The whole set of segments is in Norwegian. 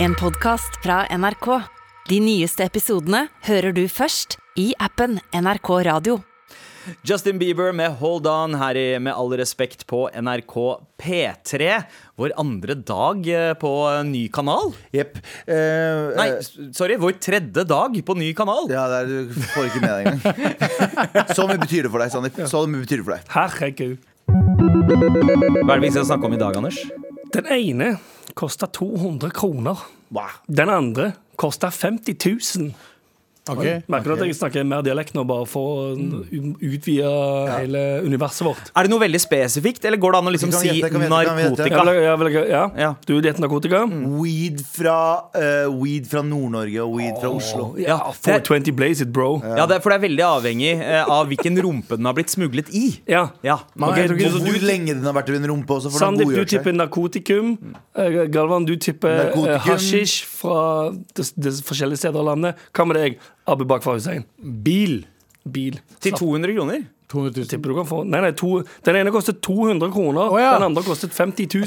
En podcast fra NRK. De nyeste episodene hører du først i appen NRK Radio. Justin Bieber med Hold On her i Med all respekt på NRK P3. Vår andre dag eh, på ny kanal. Jepp. Eh, Nei, eh, s- sorry, vår tredje dag på ny kanal. ja, det er, du får ikke med deg engang. Så mye betyr det for deg, Sandeep. Så mye betyr det for deg. Herregud. Hva er det vi skal snakke om i dag, Anders? Den ene kosta 200 kroner. Wow. Den andre kosta 50 000. Merker du at jeg snakker mer dialekt nå, bare for å u- utvide hele universet vårt? Er det noe veldig spesifikt, eller går det an å liksom Vi kan si gjette, kan vi gjette, kan vi gjette? Jeg vil, narkotika? jeg vil, ja. Ja. Du vil gjette narkotika? Mm. Weed fra, eh, weed fra Nord-Norge og weed fra Oslo. Ja, Ja, det- 420 blaze it, bro. Ja, det, er- for det er veldig avhengig eh, av hvilken rumpe den har blitt smuglet i. Ja. Ja, Man- ok. jeg tror Og ikke- hvor lenge den har vært i min rumpe også. For den Sandeep, du godgjør seg. tipper narkotikum. Eh, Galvan, du tipper Narkotikum. eh, hasjisj fra de, de forskjellige steder i landet. Hva med deg, Abu Bakfar Hussein? Bil. Bil. Til 200 kroner? 200 000. Tipper du kan få Nei, nei, to, den ene kostet 200 kroner. Å, ja. Den andre kostet 50 000.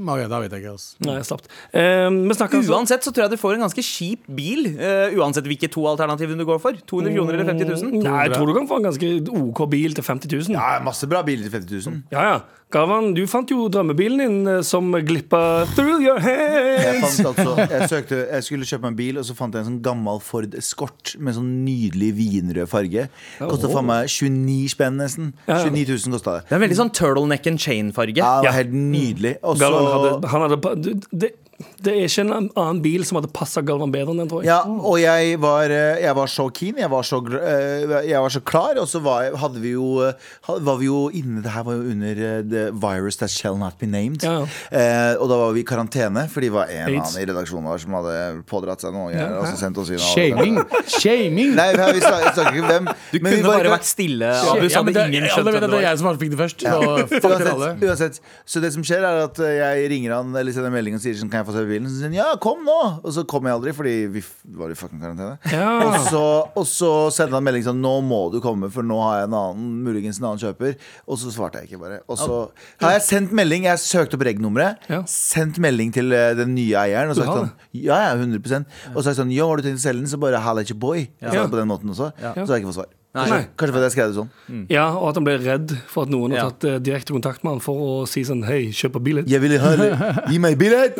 Ok, da vet jeg ikke, altså. Nei, slapp. Eh, vi snakker altså Uansett så tror jeg du får en ganske kjip bil. eh, uansett hvilke to alternativene du går for. 200 kroner eller 50 000? Nei, jeg tror du kan få en ganske OK bil til 50 000. Ja, Ja, masse bra biler til 50 000. ja. Galvan, du fant jo drømmebilen din eh, som glippa through your Jeg, hands. fant altså, jeg, søkte, jeg skulle kjøpe meg en bil, og så fant jeg en sånn gammel Ford Escort med sånn nydelig vinrød farge. Kosta faen meg 29 spenn, nesten. Ja. 29 000 kosta det. Det er veldig sånn turtleneck and chain-farge. Ja, det Ja. var helt nydelig. Og Galvan så hadde, han hadde pa- du- det, det er ikke en annen bil som hadde passa Galvan bedre enn den, tror jeg. Ja, og jeg var, eh, jeg var så keen, jeg var så, gl- eh, jeg var så klar, og så var, jeg- hadde vi jo, eh, ha- var vi jo inne Det her var jo under eh, The Virus That Shall Not Be Named. Ja. Eh, og da var vi i karantene, for det var en eller Aids. annen i redaksjonen vår som hadde pådratt seg noe. Ja. greier, Og så sendt oss inn alle- Shaming! Shaming! Nei, vi snakker snakker ikke om hvem. Du men kunne vi var i bare kar- vært stille, Abu, så Ja, hadde men det, ingen skjønt alle hvem vet det at det var. er jeg som fikk det først. Så fuck dere alle. Uansett, uansett. Så det som skjer, er at eh, jeg ringer han eller sender en melding og sier sånn, kan jeg få se bilen. Så sier han ja, kom nå! Og så kom jeg aldri, fordi vi f- var i fucking karantene. Ja. Og, så, og så sendte han melding sånn nå må du komme, for nå har jeg en annen, muligens en annen kjøper. Og så svarte jeg ikke, bare. Og så har jeg sendt melding, jeg søkte opp reg-nummeret, Ja. sendt melding til eh, den nye eieren og Du sagt har sånn ja, ja, 100 Og sagt sånn ja, har du tenkt å selge den, så bare halla ikke boy. Jeg sa Ja. det på den måten også. Så har jeg ikke fått svar. Nei. Kanskje, kanskje fordi jeg skrev det sånn. Ja, og at han ble redd for at noen Ja. har tatt eh, direkte kontakt med han for å si sånn Hei, kjøp en bil. Jeg vil ha Gi meg billett!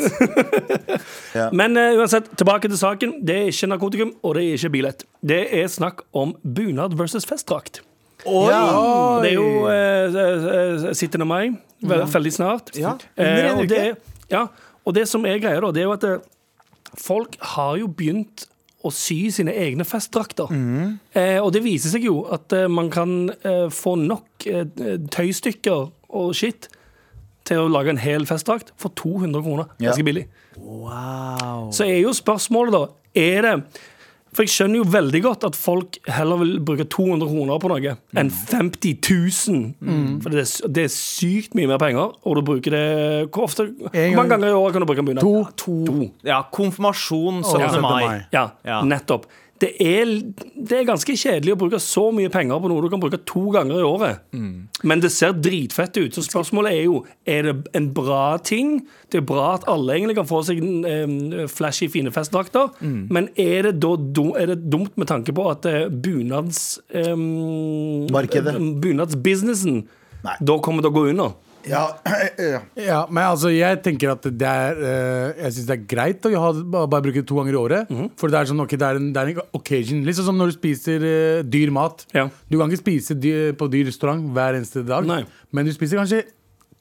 Men eh, uansett, tilbake til saken. Det er ikke narkotikum, og det er ikke billett. Det er snakk om bunad versus festdrakt. Oi! Ja. Det er jo eh, eh, eh, 17. mai, vel, veldig snart. Ja, under Eh, en og, uke. det, er- ja, og det som er greia, da, det er jo at eh, folk har jo begynt å sy sine egne festdrakter. Mm. Eh, og det viser seg jo at eh, man kan eh, få nok eh, tøystykker og skitt til å lage en hel festdrakt for 200 kroner. Ja. Ganske billig. Så er jo spørsmålet, da Er det For jeg skjønner jo veldig godt at folk heller vil bruke 200 kroner på noe enn 50 000. For det er, s- det er sykt mye mer penger, og du bruker det Hvor ofte Hvor mange ganger i året kan du bruke en bunad? To. to. Ja, konfirmasjon 17. Ja. mai. Ja, Ja. nettopp. Det er, det er ganske kjedelig å bruke så mye penger på noe du kan bruke to ganger i året. Mm. Men det ser dritfett ut. Så spørsmålet er jo Er det en bra ting. Det er bra at alle egentlig kan få seg eh, flashy, fine festdrakter. Mm. Men er det da dum- er det dumt med tanke på at eh, bunads... Eh, Markedet. Bunadsbusinessen Nei. da kommer det å gå under. Ja, ja. Ja, men altså, jeg tenker at det er eh, Jeg syns det er greit å ha, ba- bare bruke det to ganger i året. For det er sånn, ok, det er en, det er en occasion. Litt sånn som når du spiser eh, dyr mat. Ja. Du kan ikke spise dy- på dyr restaurant hver eneste dag, Nei. men du spiser kanskje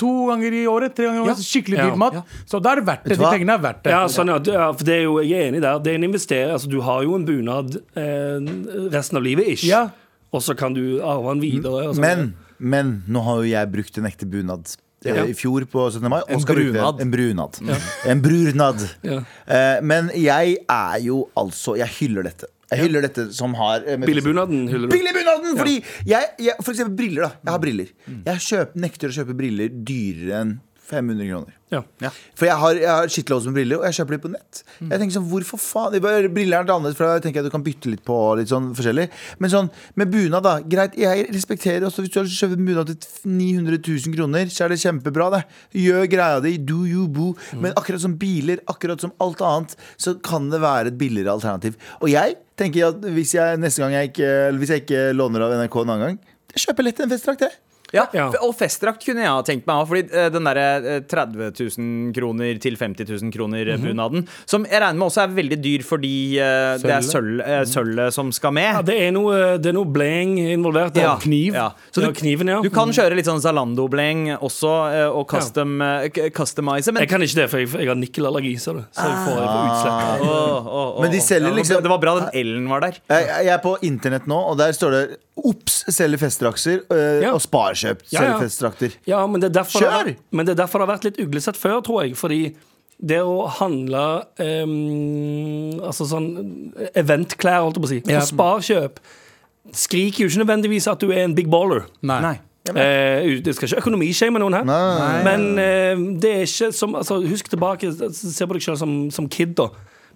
to ganger i året. Tre ganger i Ja. året, så Skikkelig Ja. dyr mat. Ja. Så da er det verdt det. du De hva? pengene er verdt det. Ja, sånn, ja. Du- ja, for det er jo, jeg er enig der. Det er en investering. Altså, du har jo en bunad eh, resten av livet, ish. Ja. Og så kan du arve den videre. Og sånn. Men, men nå har jo jeg brukt en ekte bunad. eh, Ja. I fjor på 17. mai. og En skal bruke brunad. En en brunad. En brunad. Ja. Eh, men jeg er jo altså Jeg hyller dette. Jeg hyller dette som har eh, med- Billebunaden hyller du. Brillebunaden! Fordi jeg, jeg, for eksempel briller, da. Jeg har briller. Jeg kjøp, nekter å kjøpe briller dyrere enn 500 kroner. Ja. For jeg har, jeg har shitloads med briller, og jeg kjøper de på nett. Jeg tenker sånn, hvorfor faen? Det er bare- Briller er litt annerledes, for da tenker jeg du kan bytte litt på litt sånn forskjellig. Men sånn, med bunad, da. Greit, jeg respekterer også hvis du har kjøpt en bunad til 900 000 kroner, så er det kjempebra, det. Gjør greia di, do you boo. Men akkurat som biler, akkurat som alt annet, så kan det være et billigere alternativ. Og jeg tenker at hvis jeg neste gang jeg ikke, eller hvis jeg ikke låner av NRK en annen gang, jeg kjøper lett en festdrakt, jeg. Ja, Ja. f- Og festdrakt kunne jeg ha tenkt meg òg, fordi eh, den derre eh, 30 000 kroner til 50 000 kroner eh, bunaden, som jeg regner med også er veldig dyr fordi eh, det er sølv, eh, sølvet som skal med. Ja, det er noe, det er noe bling involvert. Ja, Ja. kniv. Ja. Så du, Ja, kniven, ja. du kan kjøre litt sånn Zalando-bleng også, eh, og custom, eh, k- customize, men Jeg kan ikke det, for jeg, jeg har nikkelallergi, ser du. Så jeg får, jeg får Ah. utslett. Åh, åh, åh, Men de åh. selger Ja, liksom- Det var bra den L-en var der. Jeg, jeg jeg er på internett nå, og der står det Ops, selger festdrakter øh, Ja. Og Sparkjøp Ja, ja. selger festdrakter Ja, men det, er derfor Kjør! Det, men det er derfor det har vært litt uglesett før, tror jeg. Fordi det å handle em, Altså sånn eventklær, holdt jeg på å si, Ja. og sparkjøp, skriker jo ikke nødvendigvis at du er en big baller. Nei. Nei. Eh, det skal ikke økonomishame noen her. Nei. Men eh, det er ikke som altså, Husk tilbake, se på deg selv som, som kid, da.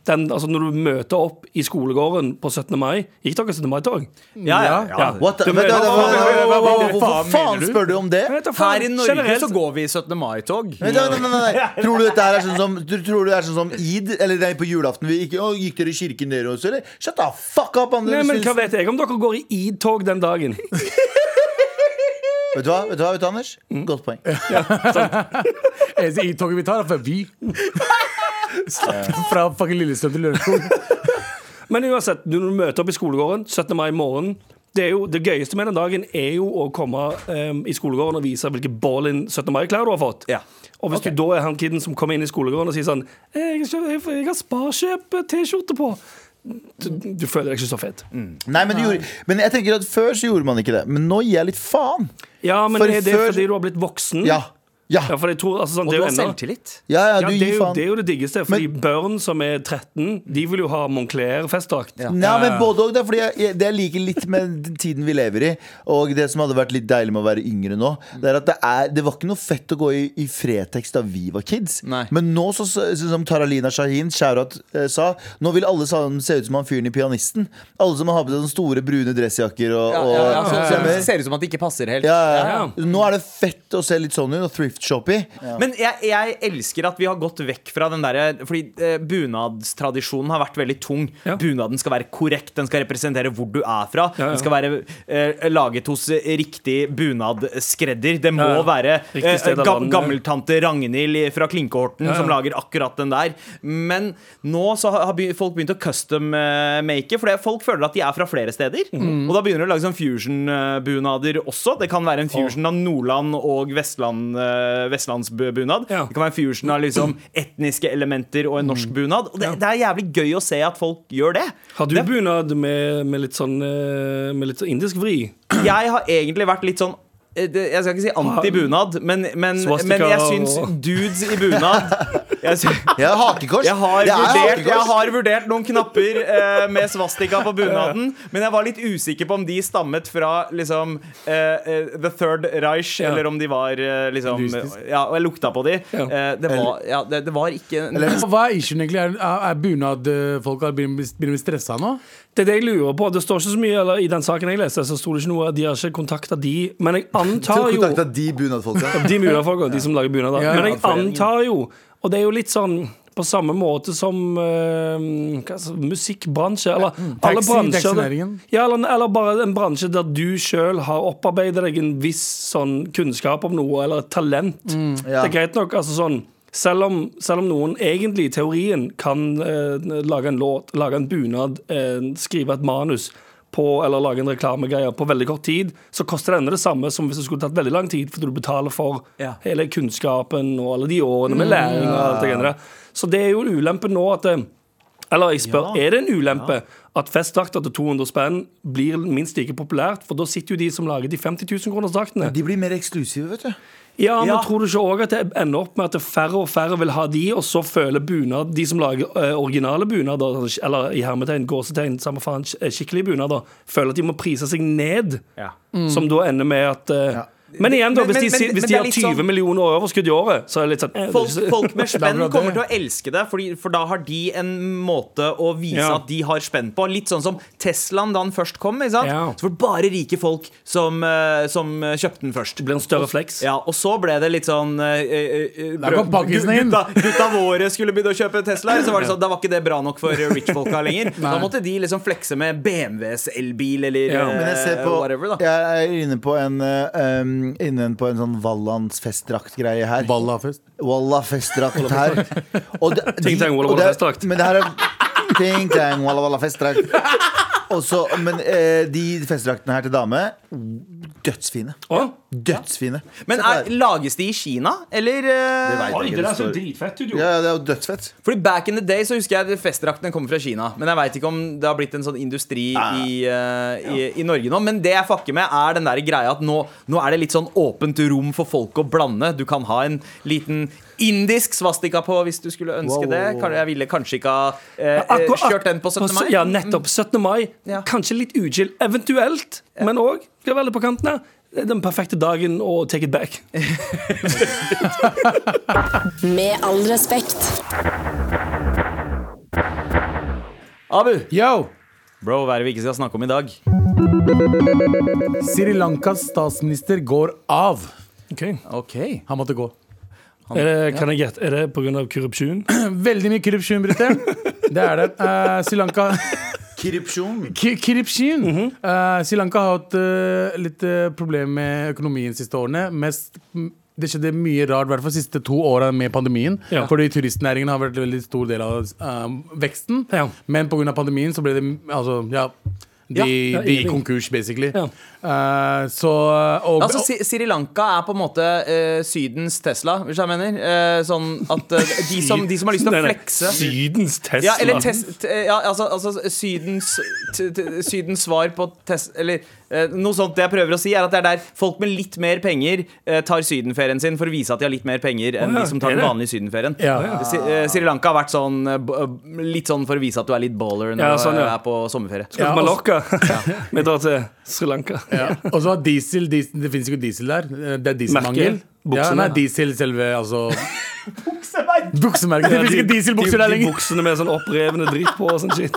Den, altså, når du møter opp i skolegården på 17. mai Gikk dere 17. mai-tog? Ja, ja, ja. Ja. What the, Du vent, mener- vent, vent, vent, vent, vent, vent, vent, Hva Hvorfor faen mener faen du? spør du om det? Vent, Her i Norge så går vi i 17. mai-tog. vent, vent, vent, vent. Tror du dette her er sånn som du, Tror du det er sånn som Eid? Eller nei, på julaften vi gikk, å, gikk dere i kirken dere også, eller? Shut the fuck up, Anders Nei, men Hva Nilsen. vet jeg om dere går i id-tog den dagen? Vet du hva, vet du hva, vet du, Anders? Mm. Godt poeng Eneste Eh, toget vi tar, er fra Vy. fra fucking Lillestrøm til Lørenskog. Men uansett, når du møter opp i skolegården 17. mai morgen det, er jo, det gøyeste med den dagen er jo å komme em, i skolegården og vise hvilke ballin 17. mai-klær du har fått. Ja. Og hvis du da er han kiden som kommer inn i skolegården og sier sånn Jeg, jeg, jeg har Sparkjøp-T-skjorte på. Du, du føler deg ikke så fet. Nei, men, du gjorde, men jeg tenker at før så gjorde man ikke det Men nå gir jeg litt faen Ja, men For er det før- fordi du har blitt voksen? Ja, ja, Mm. Ja, for jeg tror, altså, sånn, Og det du er jo har ennå- selvtillit. ja, ja Ja, du det, er gir jo, faen det er jo det diggeste. Fordi børn som er 13, de vil jo ha Moncler-festdrakt. Nei, men både og da, fordi jeg, jeg, Det jeg liker litt med den tiden vi lever i, og det som hadde vært litt deilig med å være yngre nå, det er at det, er, det var ikke noe fett å gå i, i Fretex da vi var kids. Nei. Men nå, så, så, sånn som Taralina Shahin Shaurat eh, sa, nå vil alle sammen se ut som han fyren i Pianisten. Alle som har på seg sånne store, brune dressjakker og, og det stemmer. ser ut som at det ikke passer helt. Ja, ja, ja. Ja, Nå er det fett å se litt sånn ut, og thrift-shoppy. Men jeg, jeg elsker at vi har gått vekk fra den derre Fordi eh, bunadstradisjonen har vært veldig tung. Ja. Bunaden skal være korrekt, den skal representere hvor du er fra. ja. Den skal være eh, laget hos eh, riktig bunadskredder. Det må Ja, ja. være Riktig eh, sted av ga landet. gammeltante Ragnhild i- fra Klinkehorten Ja, ja. som lager akkurat den der. Men nå så har har be- folk begynt å eh, custom-make, for det- folk føler at de er fra flere steder. Mm. Og da begynner de å lage sånn fusion-bunader også. Det kan være en fusion av Nordland og Vestland, eh, vestlandsbunad. Ja. Mm. Det kan være en fusion av liksom etniske elementer og en norsk bunad. Og det, det er jævlig gøy å se at folk gjør det. Har du det bunad med, med litt sånn eh, Med litt sånn indisk vri? jeg har egentlig vært litt sånn eh, det- jeg skal ikke si anti-bunad, men, men, men Swastika jeg og- syns dudes i bunad jeg sy- Ja, hakekors. Jeg har, Det er vurdert, hakekors. jeg har vurdert noen knapper eh, med svastika på bunaden, men jeg var litt usikker på om de stammet fra liksom eh, eh, The Third Reich, Ja. eller om de var eh, liksom Hinduistisk. Ja, og jeg lukta på de. Ja. Eh, det, var, ja, det, det var ikke Hva er issuen egentlig? Er, er- er bunad eh, folk har begynner å bli- begynner å bli stressa nå? Det er det jeg lurer på. Det står ikke så mye eller, I den saken jeg leste, så sto det ikke noe De har ikke kontakta de. Men jeg antar jo Kontakta de bunadfolka. De muligfolka, de som lager bunader. Ja, ja, Men jeg foreningen. antar jo, og det er jo litt sånn på samme måte som eh, hva så, musikkbransje, eller alle Taxi, bransjer. taxinæringen. Ja, eller, eller bare en bransje der du sjøl har opparbeidet deg en viss sånn kunnskap om noe, eller et talent. ja. Det er greit nok, altså sånn selv om, selv om noen egentlig i teorien kan eh, lage en låt, lage en bunad, eh, skrive et manus på, eller lage en reklamegreie på veldig kort tid, så koster det ennå det samme som hvis det skulle tatt veldig lang tid, fordi du betaler for Ja. hele kunnskapen og alle de årene med læring og alt det greiene der. Så det er jo ulempen nå at eh, eller jeg spør, er det en ulempe at festdrakter til 200 spenn blir minst like populært? For da sitter jo de som lager de 50 000 kroners draktene. De blir mer eksklusive, vet du. Ja, men Ja. tror du ikke òg at det ender opp med at det færre og færre vil ha de, og så føler bunad, de som lager eh, originale bunader, eller i hermetegn, gåsetegn, samme faen, sk- eh, skikkelige bunader, føler at de må prise seg ned, Ja. som da ender med at eh, Men igjen, da, hvis de, Men- men- sier- men hvis det de er har litt 20 sånn- millioner i overskudd i året, så er det litt sånn eh, Folk, det- folk med spenn bra, det. kommer til å elske det, fordi, for da har de en måte å vise Ja. at de har spenn på. Litt sånn som Teslaen da den først kom. Ikke sant? Ja. Så var det bare rike folk som, eh, som eh, kjøpte den først. Det blir en større flex. Ja, Og så ble det litt sånn eh, eh, eh, Der kom pakkisen inn. Gutta, gutta våre skulle begynne å kjøpe Teslaer, så var det sånn, da var ikke det bra nok for eh, rich-folka lenger. Da måtte de liksom flekse med BMWs elbil eller Ja. eh, Men jeg ser på whatever. da Jeg er inne på en, eh, um, inne på en sånn Vallands festdrakt-greie her. Ballafest. Walla festdrakt her. Og det, Ting tang, walla, og walla, det- festdrakt. Men det her er Ting tang, walla, walla, festdrakt. Og så- men eh, de festdraktene her til dame, dødsfine. Å? Dødsfine. Men Se på er, det her. lages de i Kina, eller? eh, Det vet jeg Oi, ikke, det der står- ser dritfett ut, jo. ja, ja, det er jo dødsfett. Fordi Back in the day så husker jeg at festdrakten kommer fra Kina. Men jeg veit ikke om det har blitt en sånn industri i, eh, i, i Norge nå. Men det jeg fucker med, er den der greia at nå, nå er det litt sånn åpent rom for folk å blande. Du kan ha en liten indisk svastika på hvis du skulle ønske Wow. det. Kan- Jeg ville kanskje ikke ha eh, eh, Akkurat- kjørt den på 17. mai. Ja, nettopp. 17. mai. Ja. Kanskje litt uchill, eventuelt, men òg skal være litt på kanten her. Det er Den perfekte dagen å take it back. Med all respekt. Abu, Yo! bro, hva er det vi ikke skal snakke om i dag? Sri Lankas statsminister går av. Ok. Ok Han måtte gå. Er det, kan jeg gjette, er det pga. korrupsjon? Veldig mye korrupsjon, Brite. Det er det. Eh, Sri Lanka Korrupsjon. K- Korrupsjon! Eh, Sri Lanka har hatt eh, litt eh, problemer med økonomien de siste årene. Mest, m- det skjedde mye rart, i hvert fall de siste to åra med pandemien. Ja. Fordi turistnæringen har vært en veldig stor del av eh, veksten. Ja. Men pga. pandemien så ble det Altså, ja. De, Ja, ja, de gikk ingenting. konkurs, basically. Ja. Eh, så og, Altså, Sri- Sri Lanka er på en måte eh, Sydens Tesla, hvis jeg mener. Eh, sånn at eh, de, som, de som har lyst til Nei, å nei. flekse Sydens Tesla. Ja, eller tes, t, ja, altså, altså sydens, t, t, sydens svar på tes, Eller eh, noe sånt det jeg prøver å si, er at det er der folk med litt mer penger eh, tar sydenferien sin for å vise at de har litt mer penger enn Å ja, de som tar er den det? vanlige sydenferien. Ja. Ja. Si- eh, Sri Lanka har vært sånn eh, b- eh, litt sånn for å vise at du er litt baller når Ja, sånn, du ja. er på sommerferie. Ja, Ja, Mallorca. Vi drar til Sri Lanka. Ja. Og så har diesel, diesel Det finnes ikke diesel der. Eh, Det er dieselmangel. Merke, buksene. Ja, nei, diesel selve, altså Buksemerket! Det finnes ikke dieselbukser der de, de lenger! buksene med sånn opprevne dritt på og sånn shit.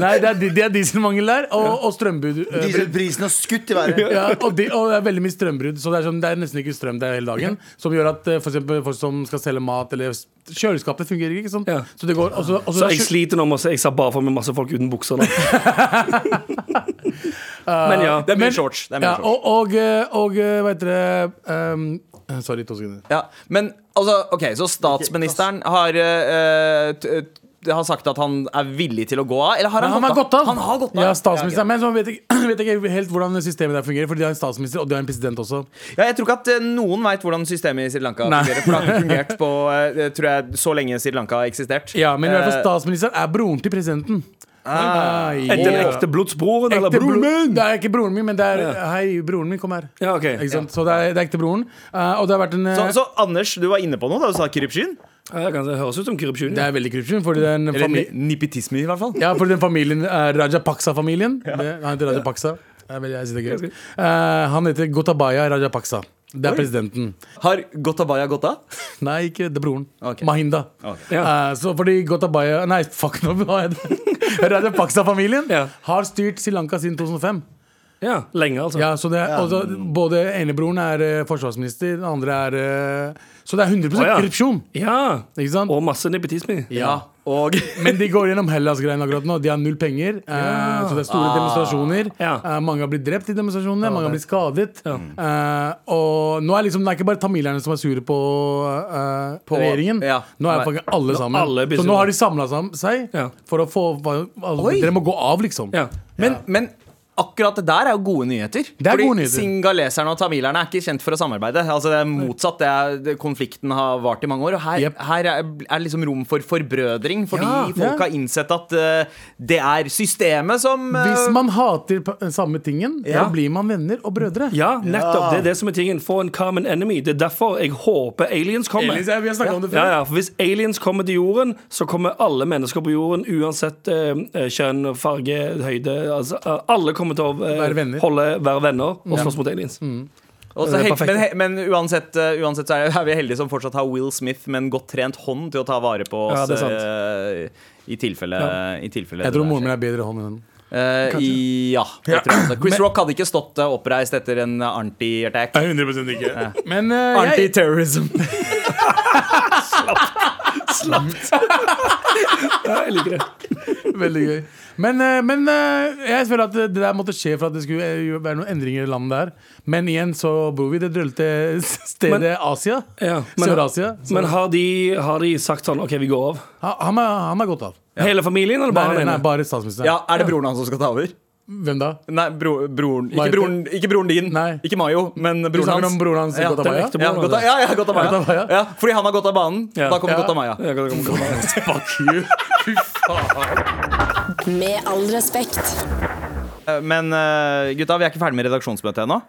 Nei, det er, di- det er dieselmangel der, og, og strømbud. eh, Dieselprisen har skutt i været. Ja, og, de, og det er veldig mye strømbrudd, så det er, sånn, det er nesten ikke strøm der hele dagen. Som gjør at eh, for eksempel folk som skal selge mat, eller s- kjøleskapet fungerer ikke. Sånn. Ja. Så det går og så- og Så så- jeg sliter nå med å se. Jeg ser bare for meg masse folk uten bukser nå. Men ja. Det er mye Men- shorts. Det er mye ja, shorts. og, og, eh, og eh, hva heter det ehm, Sorry, to sekunder. Ja, men altså, ok, så statsministeren har eh, t- t- har sagt at han er villig til å gå av? Eller har Nei, han, han har gått av. Han har gått av. Ja, statsministeren, Men så vet jeg, ikke- vet jeg ikke helt hvordan systemet der fungerer, Fordi de har en statsminister og de har en president også. Ja, jeg tror ikke at eh, noen veit hvordan systemet i Sri Lanka Nei. fungerer. For det har ikke fungert på eh, tror jeg, så lenge Sri Lanka har eksistert. Ja, Men i hvert Eh, fall statsministeren er broren til presidenten. Ah, Er det den ekte blodsbroren, eller broren min? Det er ikke broren min, men det er Ja. Hei, broren min, kom her. Ja, ok. Ikke sant? Så det er, det er ekte broren. Eh, og det har vært en eh, så, så Anders, du var inne på noe da du sa korrupsjon? Ja, det kan- det høres ut som korrupsjon. Det er veldig korrupsjon, fordi den, Eller famili nipitisme, i hvert fall. ja, fordi den familien er Rajapaksa-familien. Det- Han heter Rajapaksa. Det er veldig- Jeg synes det er gøy. Eh, han heter Gotabaya Rajapaksa. Det er presidenten. Har Gotabaya gått av? Nei, ikke det er broren. Ok. Mahinda. Ja. Eh, så fordi Gotabaya Nei, fuck nå, hva er det? Rajapaksa-familien Ja. har styrt Sri Lanka siden 2005. Ja, lenge, altså. Ja, så det, og så Både enebroren er eh, forsvarsminister, den andre er eh, Så det er 100 Å, ja. korrupsjon. Ja. Ikke sant? Og masse nepotisme. Og Men de går gjennom Hellas-greiene akkurat nå. De har null penger. eh, så det er store demonstrasjoner. Ah, Ja. Eh, mange har blitt drept i demonstrasjonene. mange har blitt skadet. Eh, og nå er liksom, det er ikke bare tamilerne som er sure på, eh, på regjeringen. ja. Nå er faktisk alle sammen. alle blir så nå sure. har de samla seg Ja. for å få altså, Dere må gå av, liksom. Ja. Men, men akkurat det der er jo gode nyheter. Det er gode nyheter. Singaleserne og tamilerne er ikke kjent for å samarbeide. Altså Det er motsatt. Det er, det, konflikten har vart i mange år. Og her, Jep. her er er liksom rom for forbrødring, fordi Ja, folk ja. har innsett at eh, det er systemet som eh, Hvis man hater pa- samme tingen, Ja. da blir man venner og brødre. Ja, nettopp. Det er det som er tingen. Få en common enemy. Det er derfor jeg håper aliens kommer. Aliens, ja, vi har snakket om det før. Ja, ja, for Hvis aliens kommer til jorden, så kommer alle mennesker på jorden, uansett eh, eh, kjønn, farge, høyde altså, eh, Alle kommer til å eh, Være venner. Mm. Holde, være venner og slåss mot aliens. Og så Det er helt, perfekt. men, he- men uansett, uh, uansett så er, er vi heldige som fortsatt har Will Smith med en godt trent hånd til å ta vare på oss. Ja, det er sant. eh, i tilfelle, i tilfelle Jeg tror det der moren min er bedre hånd enn henne. skjer. Eh, i, ja, det tror jeg også. Chris Rock hadde ikke stått eh, oppreist etter en anti-attack. Nei, 100 ikke. Men eh, jeg, Anti-terrorism. Ja, jeg liker det. Veldig gøy. Men, eh, men eh, jeg føler at det det der måtte skje for at det skulle eh, jo være noen endringer i landet der. Men igjen så bor vi i det drøllete stedet Men- Asia. Ja, men- Sør-Asia. Så- Men har de, har de sagt sånn OK, vi går av? Ha- Han er, han er godt av. Hele familien, eller Nei, bare nei, han nei, ene? bare statsministeren. Ja, er det broren hans som skal ta over? Hvem da? Nei, bro, broren. Ikke, Maite. broren ikke broren din, Nei. ikke Mayo, men Du broren snakker hans. om broren hans Ja, Gotabaya? den ekte Ja, broren, Gota- altså. ja, ja, Gotabaya. Gotabaya. Ja, fordi han har gått av banen. Ja. Da kommer Ja. Gotabaya. Ja, det kommer- kommer- Med all respekt. Eh, Men eh, gutta, vi er ikke ferdig med redaksjonsmøtet ennå.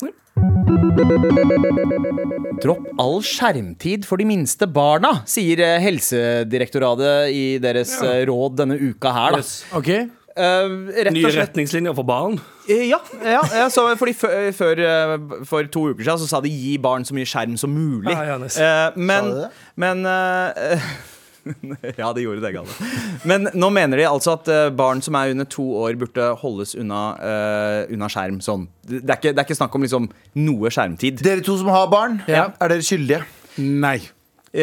Dropp all skjermtid for de minste barna, sier eh, Helsedirektoratet i deres eh, råd denne uka her. Da. Ok, Eh, rett og Nye slett retningslinjer for barn. Eh, Ja, ja, ja så fordi før, før, eh, for to uker siden så sa de 'gi barn så mye skjerm som mulig'. Ja, ja, nice. Eh, men Sa de det? men eh, Ja, de gjorde det, gale. Men nå mener de altså at eh, barn som er under to år, burde holdes unna, eh, unna skjerm. Sånn. Det, er ikke, det er ikke snakk om liksom noe skjermtid. Dere to som har barn, Ja. er dere skyldige? Nei. Eh,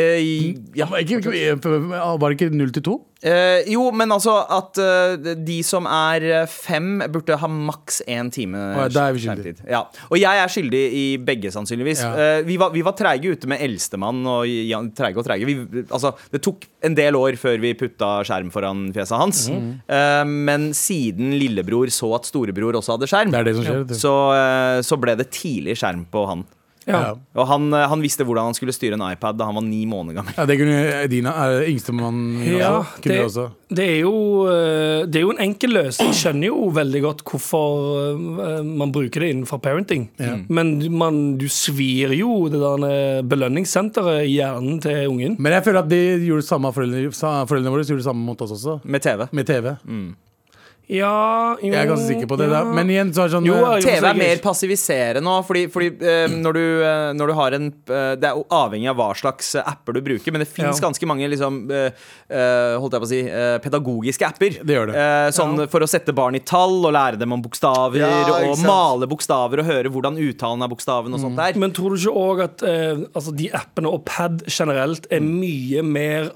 ja. Var ikke- ikke- var det ikke null til to? Eh, jo, men altså at eh, de som er eh, fem, burde ha maks én time ja, da er vi skjermtid. Ja. Og jeg er skyldig i begge, sannsynligvis. Ja. Eh, vi, var, vi var treige ute med eldstemann og ja, treige og treige. Vi, altså, det tok en del år før vi putta skjerm foran fjeset hans. Mhm. Eh, men siden lillebror så at storebror også hadde skjerm, Det er det som skjer. vet du. så, eh, så ble det tidlig skjerm på han. Ja. Og han, eh, han visste hvordan han skulle styre en iPad da han var ni måneder gammel. Ja, det kunne eh, Dina, er yngstemann Ja, også. Kunne det, det, også. det, er jo, eh, det er jo en enkel løsning. Jeg skjønner jo veldig godt hvorfor eh, man bruker det innenfor parenting. Men du- man, du svir jo det der eh, belønningssenteret i hjernen til ungen. Men jeg føler at de gjorde det samme foreldrene, sa- foreldrene våre gjorde det samme mot oss også. Med TV. Med TV. Ja, jo, Jeg er ganske sikker på det. ja. Da. Men igjen, så er det sånn Jo, eh, jeg- TV er ikke- mer passiviserende òg, fordi, fordi eh, når, du, eh, når du har en eh, Det er jo avhengig av hva slags eh, apper du bruker, men det fins Ja. ganske mange liksom, eh, eh, holdt jeg på å si, eh, pedagogiske apper. Det gjør det. Eh, sånn for å sette barn i tall og lære dem om bokstaver Ja, ikke og sant. male bokstaver og høre hvordan uttalen av bokstaven og sånt der. Mm. Men tror du ikke òg at eh, altså de appene og pad generelt er mye mer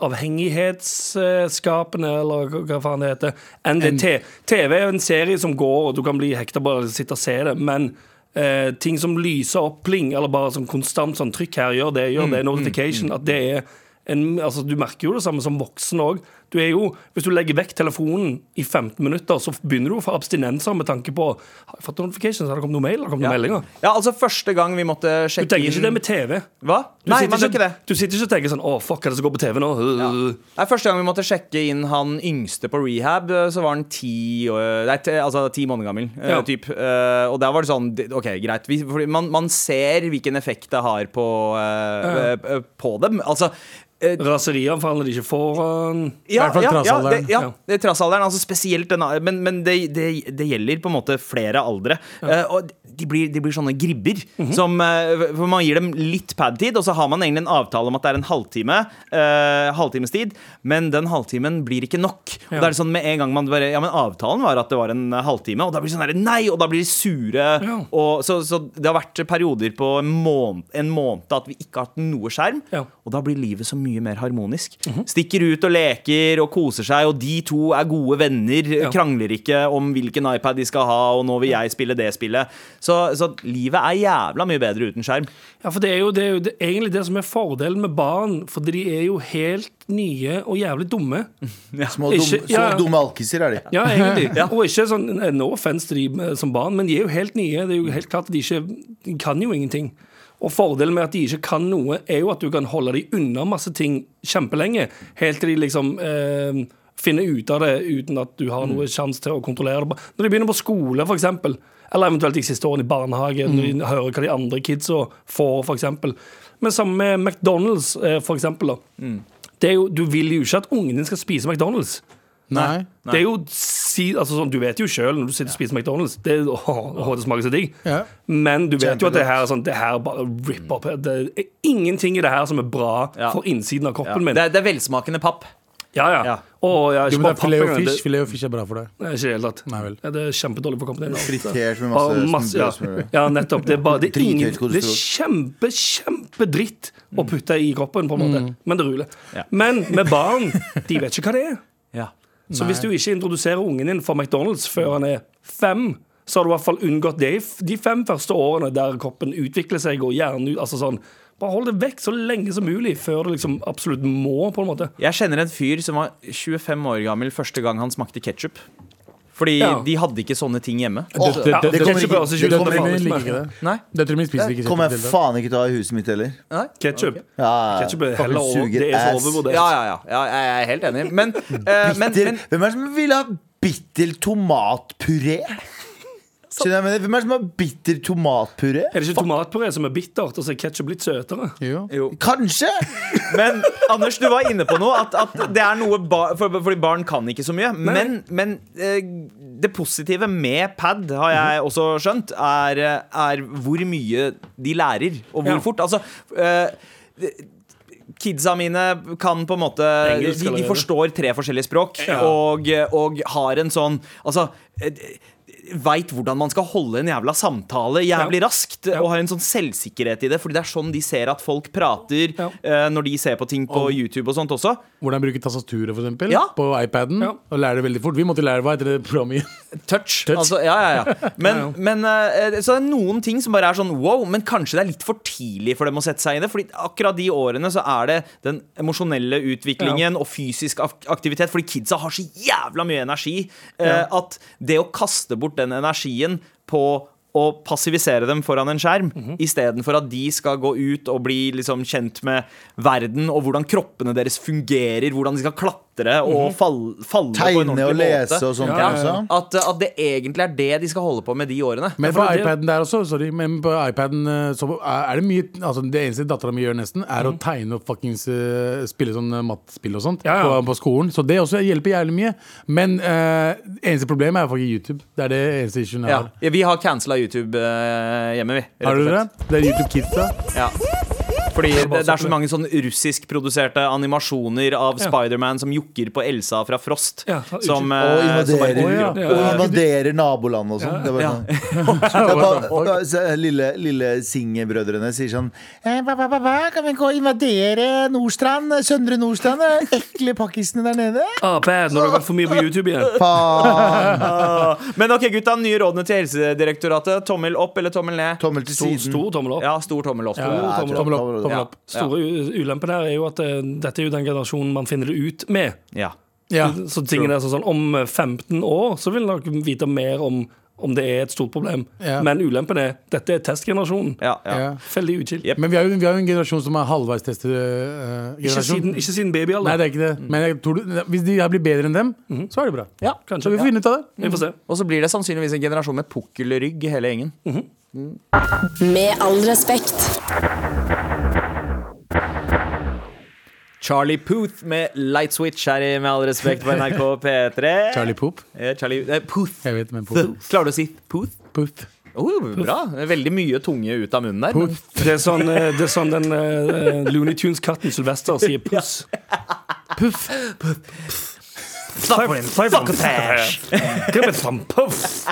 avhengighetsskapende, eller hva- hva faen det heter, enn det te- TV er en serie som går, og du kan bli hekta bare av å sitte og se det, men eh, ting som lyser opp, pling, eller bare sånn konstant sånn trykk her, gjør det, gjør det, notification, at det er en, altså, du merker jo det samme som voksen òg. Hvis du legger vekk telefonen i 15 minutter, så begynner du å få abstinenser med tanke på Har jeg fått notifications? Har det kommet noen mail? Har det kommet noen meldinger? Ja, altså første gang vi måtte Du sjekke tenker ikke inn- det med TV. Hva? Du Nei, sitter man gjør ikke det. Du sitter ikke og tenker sånn Å, fuck, hva er det som går på TV nå? Øh, Nei, første gang vi måtte sjekke inn han yngste på rehab, eh, så var han ti, eh, nei, te- altså, ti måneder gammel. eh, Ja. Typ. Eh, Og da var det sånn det- OK, greit. Vi, fordi man, man ser hvilken effekt det har på, eh, eh, på dem. Altså eh, Raserianfall er de ikke øh. foran. ja, I hvert fall ja, trassalderen. Ja, det, ja, det er trassalderen. Altså spesielt den, men men det, det, det gjelder på en måte flere aldre. Eh, og de blir, de blir sånne gribber. Mhm. som, eh, for man gir dem litt padtid, og så har man egentlig en avtale om at det er en halvtime. eh, halvtimestid, men den halvtimen blir ikke nok. Og Ja. da er det sånn med en gang man bare Ja, men avtalen var at det var en eh, halvtime, og da blir det sånn her Nei! Og da blir de sure. Ja. Og, så, så det har vært perioder på en måned, en måned at vi ikke har hatt noe skjerm. Ja. Mhm. Og da blir livet så mye mer harmonisk. Stikker ut og leker og koser seg, og de to er gode venner. Ja. Krangler ikke om hvilken iPad de skal ha, og nå vil jeg spille det spillet. Så, så livet er jævla mye bedre uten skjerm. Ja, for det er jo, det er jo det, egentlig det som er fordelen med barn, fordi de er jo helt nye og jævlig dumme. Små dum, Ikke- så ja, ja. dumme alkiser er de. Ja, egentlig. Og ikke sånn no offense til de eh, som barn, men de er jo helt nye. Det er jo helt klart at de ikke de kan jo ingenting. Og fordelen med at de ikke kan noe, er jo at du kan holde de unna masse ting kjempelenge, helt til de liksom eh, finner ut av det uten at du har noe sjanse til å kontrollere det. Når de begynner på skole, f.eks., eller eventuelt de siste årene i barnehage, når de hører hva de andre kidsa får, f.eks. Men sammen med McDonald's, eh, f.eks. Mm. Du vil jo ikke at ungen din skal spise McDonald's. Nei. Det er jo s- si, altså sånn, Du vet jo sjøl når du sitter og spiser McDonald's det, åh, åh, det smaker så digg. Ja. Men du vet jo at det her, er sånn, det her bare ripper opp. Det er ingenting i det her som er bra Ja. for innsiden av Ja. kroppen min. Det, er, det er velsmakende papp. ja, ja. Ja. Åh, ja, Jo, ikke men det bare er filet og papp engang, fish. Filet og fish er bra for deg. Det, nei, ikke i det hele tatt. Nei vel. Ja, det er kjempedårlig for kroppen din. Fritert med Ja, masse, masse- smør ja. altså, og smør. ja, nettopp. Det er, bare, det er, ingen, Drithøyt kolesterol. det er kjempe, kjempedritt Mm. å putte i kroppen, på en måte. Men det ruler. Men med barn, de vet ikke hva det er. Ja. Så hvis du ikke introduserer ungen din for McDonald's før han er fem, så har du i hvert fall unngått det i f- de fem første årene der kroppen utvikler seg og hjernen ut- altså sånn, Bare hold det vekk så lenge som mulig før du liksom absolutt må, på en måte. Jeg kjenner en fyr som var 25 år gammel første gang han smakte ketsjup. Fordi Ja. de hadde ikke sånne ting hjemme. Åh, Det- Ja, det- det det- kommer ikke altså, høres ikke ut som det Døtrene mine faen liker ikke ikke smaker. det. Nei? Døtrene mine spiser Det ikke kommer jeg kjøttdeig. faen ikke til å ha i huset mitt heller. Ketchup. Ja, ja, Ketchup er Fucking heller over. suger Det er så ass. overvurdert. Ja, ja, ja. ja jeg er helt enig. Men, eh, men, Bitter, men hvem er det som vil ha bitter tomatpuré? Skjønner du hva jeg mener? Hvem er det som har bitter tomatpuré? Er det ikke tomatpuré som er bittert, og så er ketsjup litt søtere? Jo. Kanskje! Men Anders, du var inne på noe. At, at det er noe ba for, Fordi barn kan ikke så mye. Men, men eh, det positive med pad, har Mhm. jeg også skjønt, er, er hvor mye de lærer, og hvor Ja. fort. Altså eh, Kidsa mine kan på en måte De, Engelsk de allerede. forstår tre forskjellige språk Ja. og, og har en sånn Altså Veit hvordan man skal holde en jævla samtale jævlig Ja. raskt. Og har en sånn selvsikkerhet i det, Fordi det er sånn de ser at folk prater Ja. eh, når de ser på ting på YouTube og sånt også. Hvordan bruke tastaturet, for eksempel, Ja. på iPaden. Ja. Og lære det veldig fort. Vi måtte lære hva heter det programmet igjen? Touch. Altså, ja, ja, ja. Men, Ja, ja. men, eh, så det er noen ting som bare er sånn wow, men kanskje det er litt for tidlig for dem å sette seg i det. Fordi akkurat de årene så er det den emosjonelle utviklingen og fysisk ak- aktivitet. Fordi kidsa har så jævla mye energi eh, at det å kaste bort den energien på å passivisere dem foran en skjerm, Mhm. istedenfor at de skal gå ut og bli liksom kjent med verden og hvordan kroppene deres fungerer, hvordan de skal klatre Mhm. og fall, falle på en ordentlig Tegne og lese måte og sånt. Ja, ja, også. ja. at, at det egentlig er det de skal holde på med de årene. Men for på det- iPaden der også, sorry, men på iPaden eh, så er er det mye altså Det eneste dattera mi gjør, nesten, er å tegne og fuckings eh, spille sånn eh, mattspill og sånt Mm. Ja, ja. På, på skolen. Så det også hjelper jævlig mye. Men eh, eneste problemet er faktisk YouTube. Det er det eneste issuen jeg Ja. har. Vi har cancela YouTube eh, hjemme, vi. rett Har og du det? slett. Det er YouTube Kids, da. Ja. Fordi det, det er så mange sånn russiskproduserte animasjoner av Ja. Spiderman som jokker på Elsa fra Frost. Ja, som, eh, Og som bare invaderer, dukker ja. opp. og invaderer nabolandet og sånn. Det er bare sånn. Det er bare- og så Lille, lille Singer-brødrene sier sånn eh, hva, hva, hva, hva, Kan vi gå og invadere Nordstrand? Søndre Nordstrand? eh, Ekle pakkisene der nede? Ah, bad, når det har vært for mye på YouTube igjen. Faen! Ah. Men ok, gutta. Nye rådene til Helsedirektoratet. Tommel opp eller tommel ned? Tommel til Stor, siden. stor tommel opp. Ja, stor tommel opp. Ja. jeg tror- Tommel opp. Tommel Ja. opp. Store u- ulempen her er jo at eh, dette er jo den generasjonen man finner det ut med. Ja. Ja. Så tingene er sånn, sånn Om eh, 15 år så vil dere vite mer om om det er et stort problem. Ja. Men ulempen er dette er testgenerasjonen. Ja, ja. Ja. Veldig uchill. Jep. Men vi er jo, vi er jo en generasjon som er halvveistestet eh, Ikke, generasjon. siden- Mm. ikke siden Nei, babyalder. det er ikke det. Men jeg tror du, hvis de her blir bedre enn dem, så er det bra. Ja, Så Mhm. vi Kanskje. får finne ut av det. Vi får se. Og så blir det sannsynligvis en generasjon med pukkelrygg, hele gjengen. Med all respekt. Charlie Puth med Light Switch her i Med all respekt på NRK P3. Charlie Poop. Eh, Charlie eh, Puth. Jeg vet, men Poop. Klarer du å si Puth? Puth. Oh, bra. Veldig mye tunge ut av munnen der. men- Det er sånn, eh, det er sånn den eh, Looney Tunes-katten Sylvester sier puss. Puff. Snakk for en puff!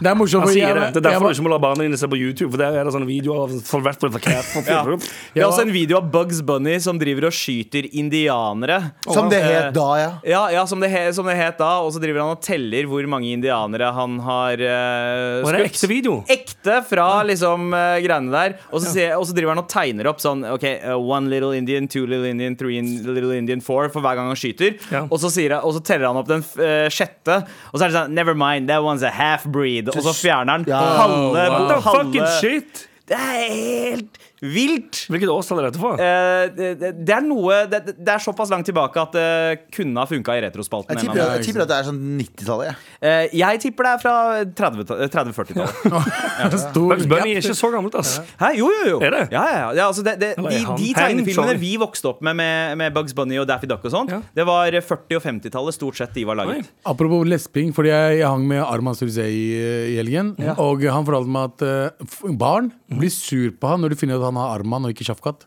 Det er morsomt. Han for sier jeg- det. Det er jeg derfor var- du ikke må la barna dine se på YouTube, for der er det sånne videoer av folk hvert fall Ja. forkert. Det er også en video av Bugs Bunny som driver og skyter indianere. Eh, Som det het da, ja. Ja, ja som, det he, som det het da. Og så driver han og teller hvor mange indianere han har eh, Og det er ekte video. Ekte fra liksom eh, greiene der. Og så, sier- og så driver han og tegner opp sånn OK, eh, one little Indian, two little Indian, three in- little Indian, four for hver gang han skyter. Ja. Og, så sier han, og så teller han opp den eh, sjette, og så er det sånn Never mind, that one's a half breed. Og så fjerner han Ja. halve, What the halve fucking shit? Det er helt vilt. Hvilket årstall er dette for? Eh, det, det det er noe det, det- det er såpass langt tilbake at det kunne ha funka i retrospalten. Jeg en eller annen tipper, gang. at, jeg tipper at det er sånn 90-tallet. jeg. Eh, jeg tipper det er fra eh, 30 30-40-tallet. Stor Bugs Bunny er ikke så gammelt, altså. Hæ? Jo, jo, jo. Er det? Ja, ja, ja. ja altså det, det, Eller er de, han- de Hang, sorry. tegnefilmene vi vokste opp med, med, med Bugs Bunny og Daffy Duck og sånt, Ja. det var 40- og 50-tallet stort sett de var Oi. laget. Apropos lesping, fordi jeg, jeg hang med Arman Surzei i helgen. Og han fortalte meg at eh, f- barn Mhm. blir sur på han når de finner ut at han har Arman og ikke Shafkat.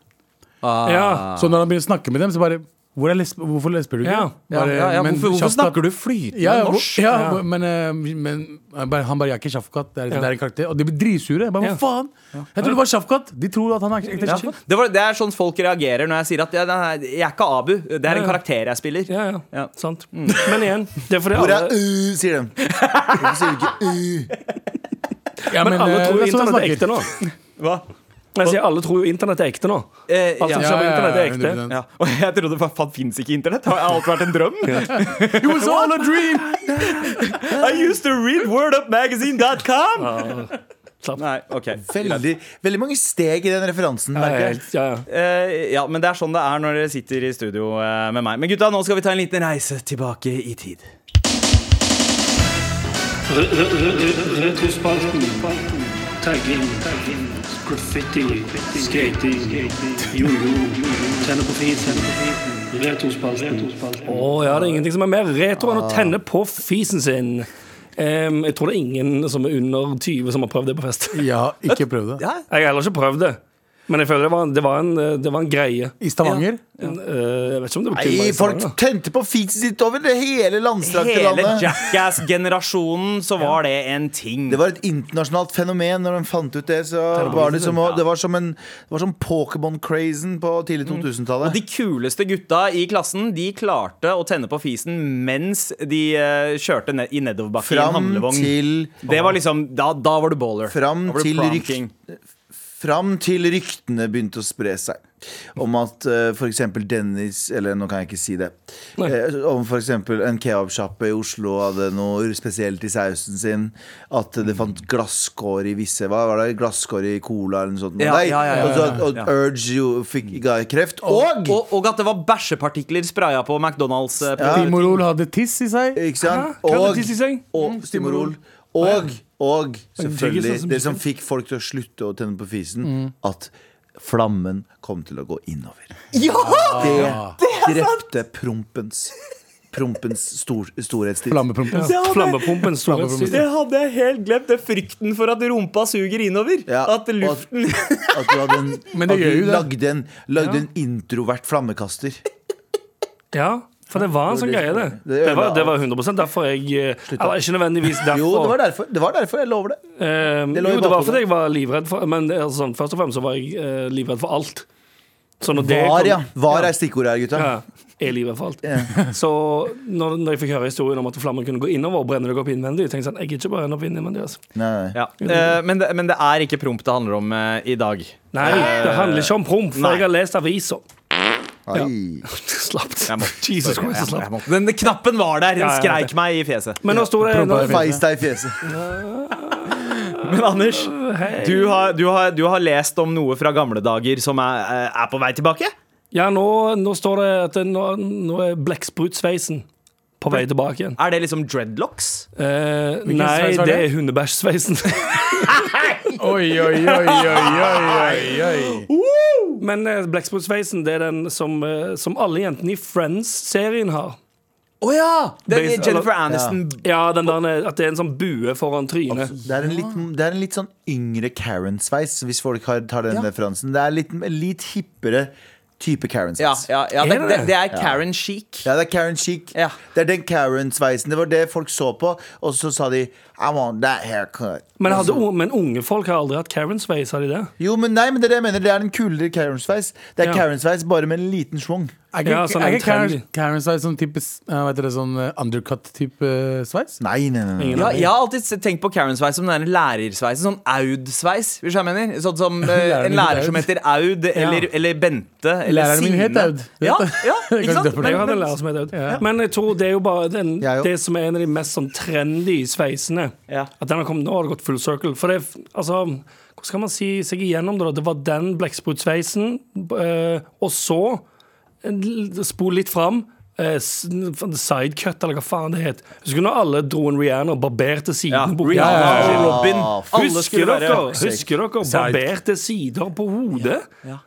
Ja. Ah. Så når han begynner å snakke med dem, så bare Hvor er lesp hvorfor lesper du ikke? Ah. Ja. Ja, ja, ja, men hvorfor, hvorfor Shafkat- snakker du flytende ja, ja, norsk? hvor- ja, hvor- men, eh, men han bare- han bare Jeg er ikke Shafkat, det, er- det er en karakter. Og de blir dritsure. Jeg bare, Ja. Hva faen? Jeg trodde det var Shafkat! De tror at han er ekte Ja. Shafkat. Det, var, det er sånn folk reagerer når jeg sier at ja, nei, nei, jeg er ikke Abu. Det er en karakter jeg spiller. Ja, ja, Ja. sant. Men igjen, det er fordi Hvor er alle, uh, sier de. Hvorfor sier de ikke uh? Ja, men alle eh, tror det jo er sånn internett han er snakker. ekte nå. Hva? Jeg sier alle tror jo internett er ekte nå. Eh, Alt ja. som Ja, skjer på ja, internett, er ja, ekte. 100%. Ja. Og jeg trodde faen, faen fins ikke internett? Har alt vært en drøm? It was all a dream! I used to read wordupmagazine.com! Slapp. Nei, ok Veldig, veldig mange steg i den referansen. Ja, merker jeg. helt- ja, ja. Eh, ja, men det er sånn det er når dere sitter i studio eh, med meg. Men gutta, nå skal vi ta en liten reise tilbake i tid. Retrospalten. Tagging. Graffiti. Skating. Jojo. Tenne på fisen. Retrospalten. Å ja, det er ingenting som er mer retro Ah. enn å tenne på fisen sin. Em, jeg tror det er ingen som er under 20 som har prøvd det på fest. Jeg Jeg har ikke prøvd det. har heller ikke prøvd det. Men jeg føler det var, det var, en, eh, det var en greie. I Stavanger. En, eh, jeg vet ikke om det var kun Nei, bare i folk Stavanger. tente på feetset sitt over det hele landstrakte Hele landet. Jackass-generasjonen, så var det en ting. Det var et internasjonalt fenomen når de fant ut det. Så var det, som, å- det var som, en- det var som Pokémon-crazen på tidlig 2000-tallet. De kuleste gutta i klassen De klarte å tenne på fisen mens de eh, kjørte ned, i nedoverbakke i en Fram handlevogn. til Det var liksom, da, da var du baller. Fram da var du til prom rykt- king. Fram til ryktene begynte å spre seg om at uh, f.eks. Dennis Eller nå kan jeg ikke si det. Eh, om f.eks. en kebabsjappe i Oslo hadde noe spesielt i sausen sin. At Mm. det fant glasskår i visse Hva var det? Glasskår i cola eller noe sånt. Ja, Nei, ja, ja, ja, og så at- ja, og ja. Urge jo fikk ga kreft. Og! Og, og at det var bæsjepartikler spraya på McDonald's. eh, på- Timorol hadde tiss i seg. Ikke sant? Hva er det Og, de sier? og Stimorol. Og, og selvfølgelig sånn som det som fikk folk til å slutte å tenne på fisen, at flammen kom til å gå innover. Ja! Det, drepte prompens Prompens stor, storhetstid. Flammeprompe. Det hadde- Flammepumpen sto rett Flammepumpen. siden. Det hadde jeg helt glemt. Det er frykten for at rumpa suger innover. Ja, at luften og At, at du hadde en, Men det at gjør du jo det. lagde en, lagde en introvert flammekaster. Ja, for det var en sånn greie, det. Det Det var, ødela det var 100 derfor jeg eh, Eller ikke nødvendigvis derfor. Jo, det var derfor. Det var derfor jeg lover det. Eh, Det lå i jo, det var bakhodet. fordi jeg var livredd for Men det er sånn, først og fremst så var jeg eh, livredd for alt. Så når det Var, kom- ja. Var er stikkordet her, gutta. Ja, jeg er livredd for alt. Så når, når jeg fikk høre historien om at flammen kunne gå innover og brenne deg opp innvendig, tenkte jeg sånn, jeg gidder ikke brenne opp innvendig. Altså. Nei, nei. ja. eh, men, det, men det er ikke promp det handler om eh, i dag. Nei, det handler ikke om promp, for Eh, Nei. jeg har lest aviser. Ai. Slapp Jeg må- Jesus Christ, så Jeg slapp. må- Den knappen var der. Den Ja, ja, skreik meg i fjeset. Men nå sto det nå, Prompa er Feis deg i fjeset. Men Anders, du har, du, har, du har lest om noe fra gamle dager som er, eh, er på vei tilbake? Ja, nå, nå står det at det, nå, nå er blekksprutsveisen på vei tilbake igjen. Er det liksom dreadlocks? Eh, Hvilken nei, sveis var det det? er hundebæsjsveisen. Oi, oi, oi, oi, oi, oi, oi. Men eh, blekksprutsveisen det er den som, eh, som alle jentene i Friends-serien har. Å ja! Den Base- Jennifer Aniston. Ja, den der, at det er en sånn bue foran trynet. Det er en litt, det er en litt sånn yngre Karen-sveis, hvis folk har, tar den referansen. Det er litt, litt hippere type Ja, Karen-sveis. ja, ja. Det, det, Er det det? det er Karen Chic. Ja, det er Karen Chic. Ja. Det er den Karen-sveisen. Det var det folk så på, og så sa de I want that haircut. Men, hadde, un- men unge folk har aldri hatt Karen-sveis, har de det? Jo, men nei, men det er det jeg mener. Det er en kulere Karen-sveis. Det er Ja. Karen-sveis bare med en liten schwung. Er Ja, ikke- sånn er ikke Karen- trendy. Karen sveis sånn type s- eh, Hva heter det, sånn eh, undercut-type eh, sveis? Nei, nei, nei. nei. Ingen Ja, aning. jeg har alltid s- tenkt på Karen-sveis som den der lærersveisen. Sånn Aud-sveis. hvis jeg mener Sånn som eh, Læreren En min lærer Aud. som heter Aud, eller, eller Bente, eller Læreren min het Signe. Aud. Du Ja, vet det. ja, Jeg ikke kan sant? døpe Jeg Men, deg. hadde en men, lærer som het Aud. Men jeg tror det er jo bare den, Jeg òg. det som er en av de mest sånn trendy sveisene. Ja. At den har kommet, nå har det gått full circle. For det er f- altså Hvordan Så kan man si seg igjennom det. da. Det var den blekksprutsveisen. eh, og så eh, spol litt fram. eh, s- Sidecut, eller hva faen det het. Husker du når alle dro en Rihanna og barberte Ja. sidene? på hodet? Rihanna og Robin. Alle Ah, Husker skulle dere, være husker dere barberte sider på hodet?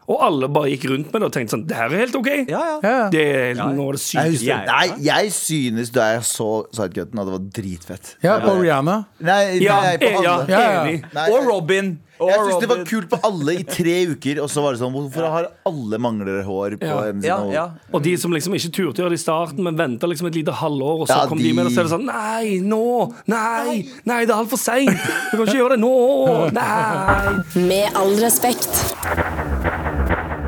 Og alle bare gikk rundt med det og tenkte sånn Det her er helt OK. Ja, ja. Ja, ja. Det er, nå er Jeg det sykt. husker, Jeg- nei, jeg synes da jeg så sidecutten, at det var dritfett. ja Det på var- Rihanna. Nei, Ja, nei, på eh, ja, alle. Ja, ja. enig. Nei, Og Robin. Og Jeg synes det var Robin. kult på alle i tre uker, og så var det sånn Hvorfor har alle mangler hår på Ja. en Ja, sine ja. hår? Og de som liksom ikke turte å gjøre det i starten, men venta liksom et lite halvår, og så Ja, kom de de- med det, og så er det sånn Nei, nå! Nei! Nei, det er altfor seint! Du kan ikke gjøre det nå! Nei! Med all respekt.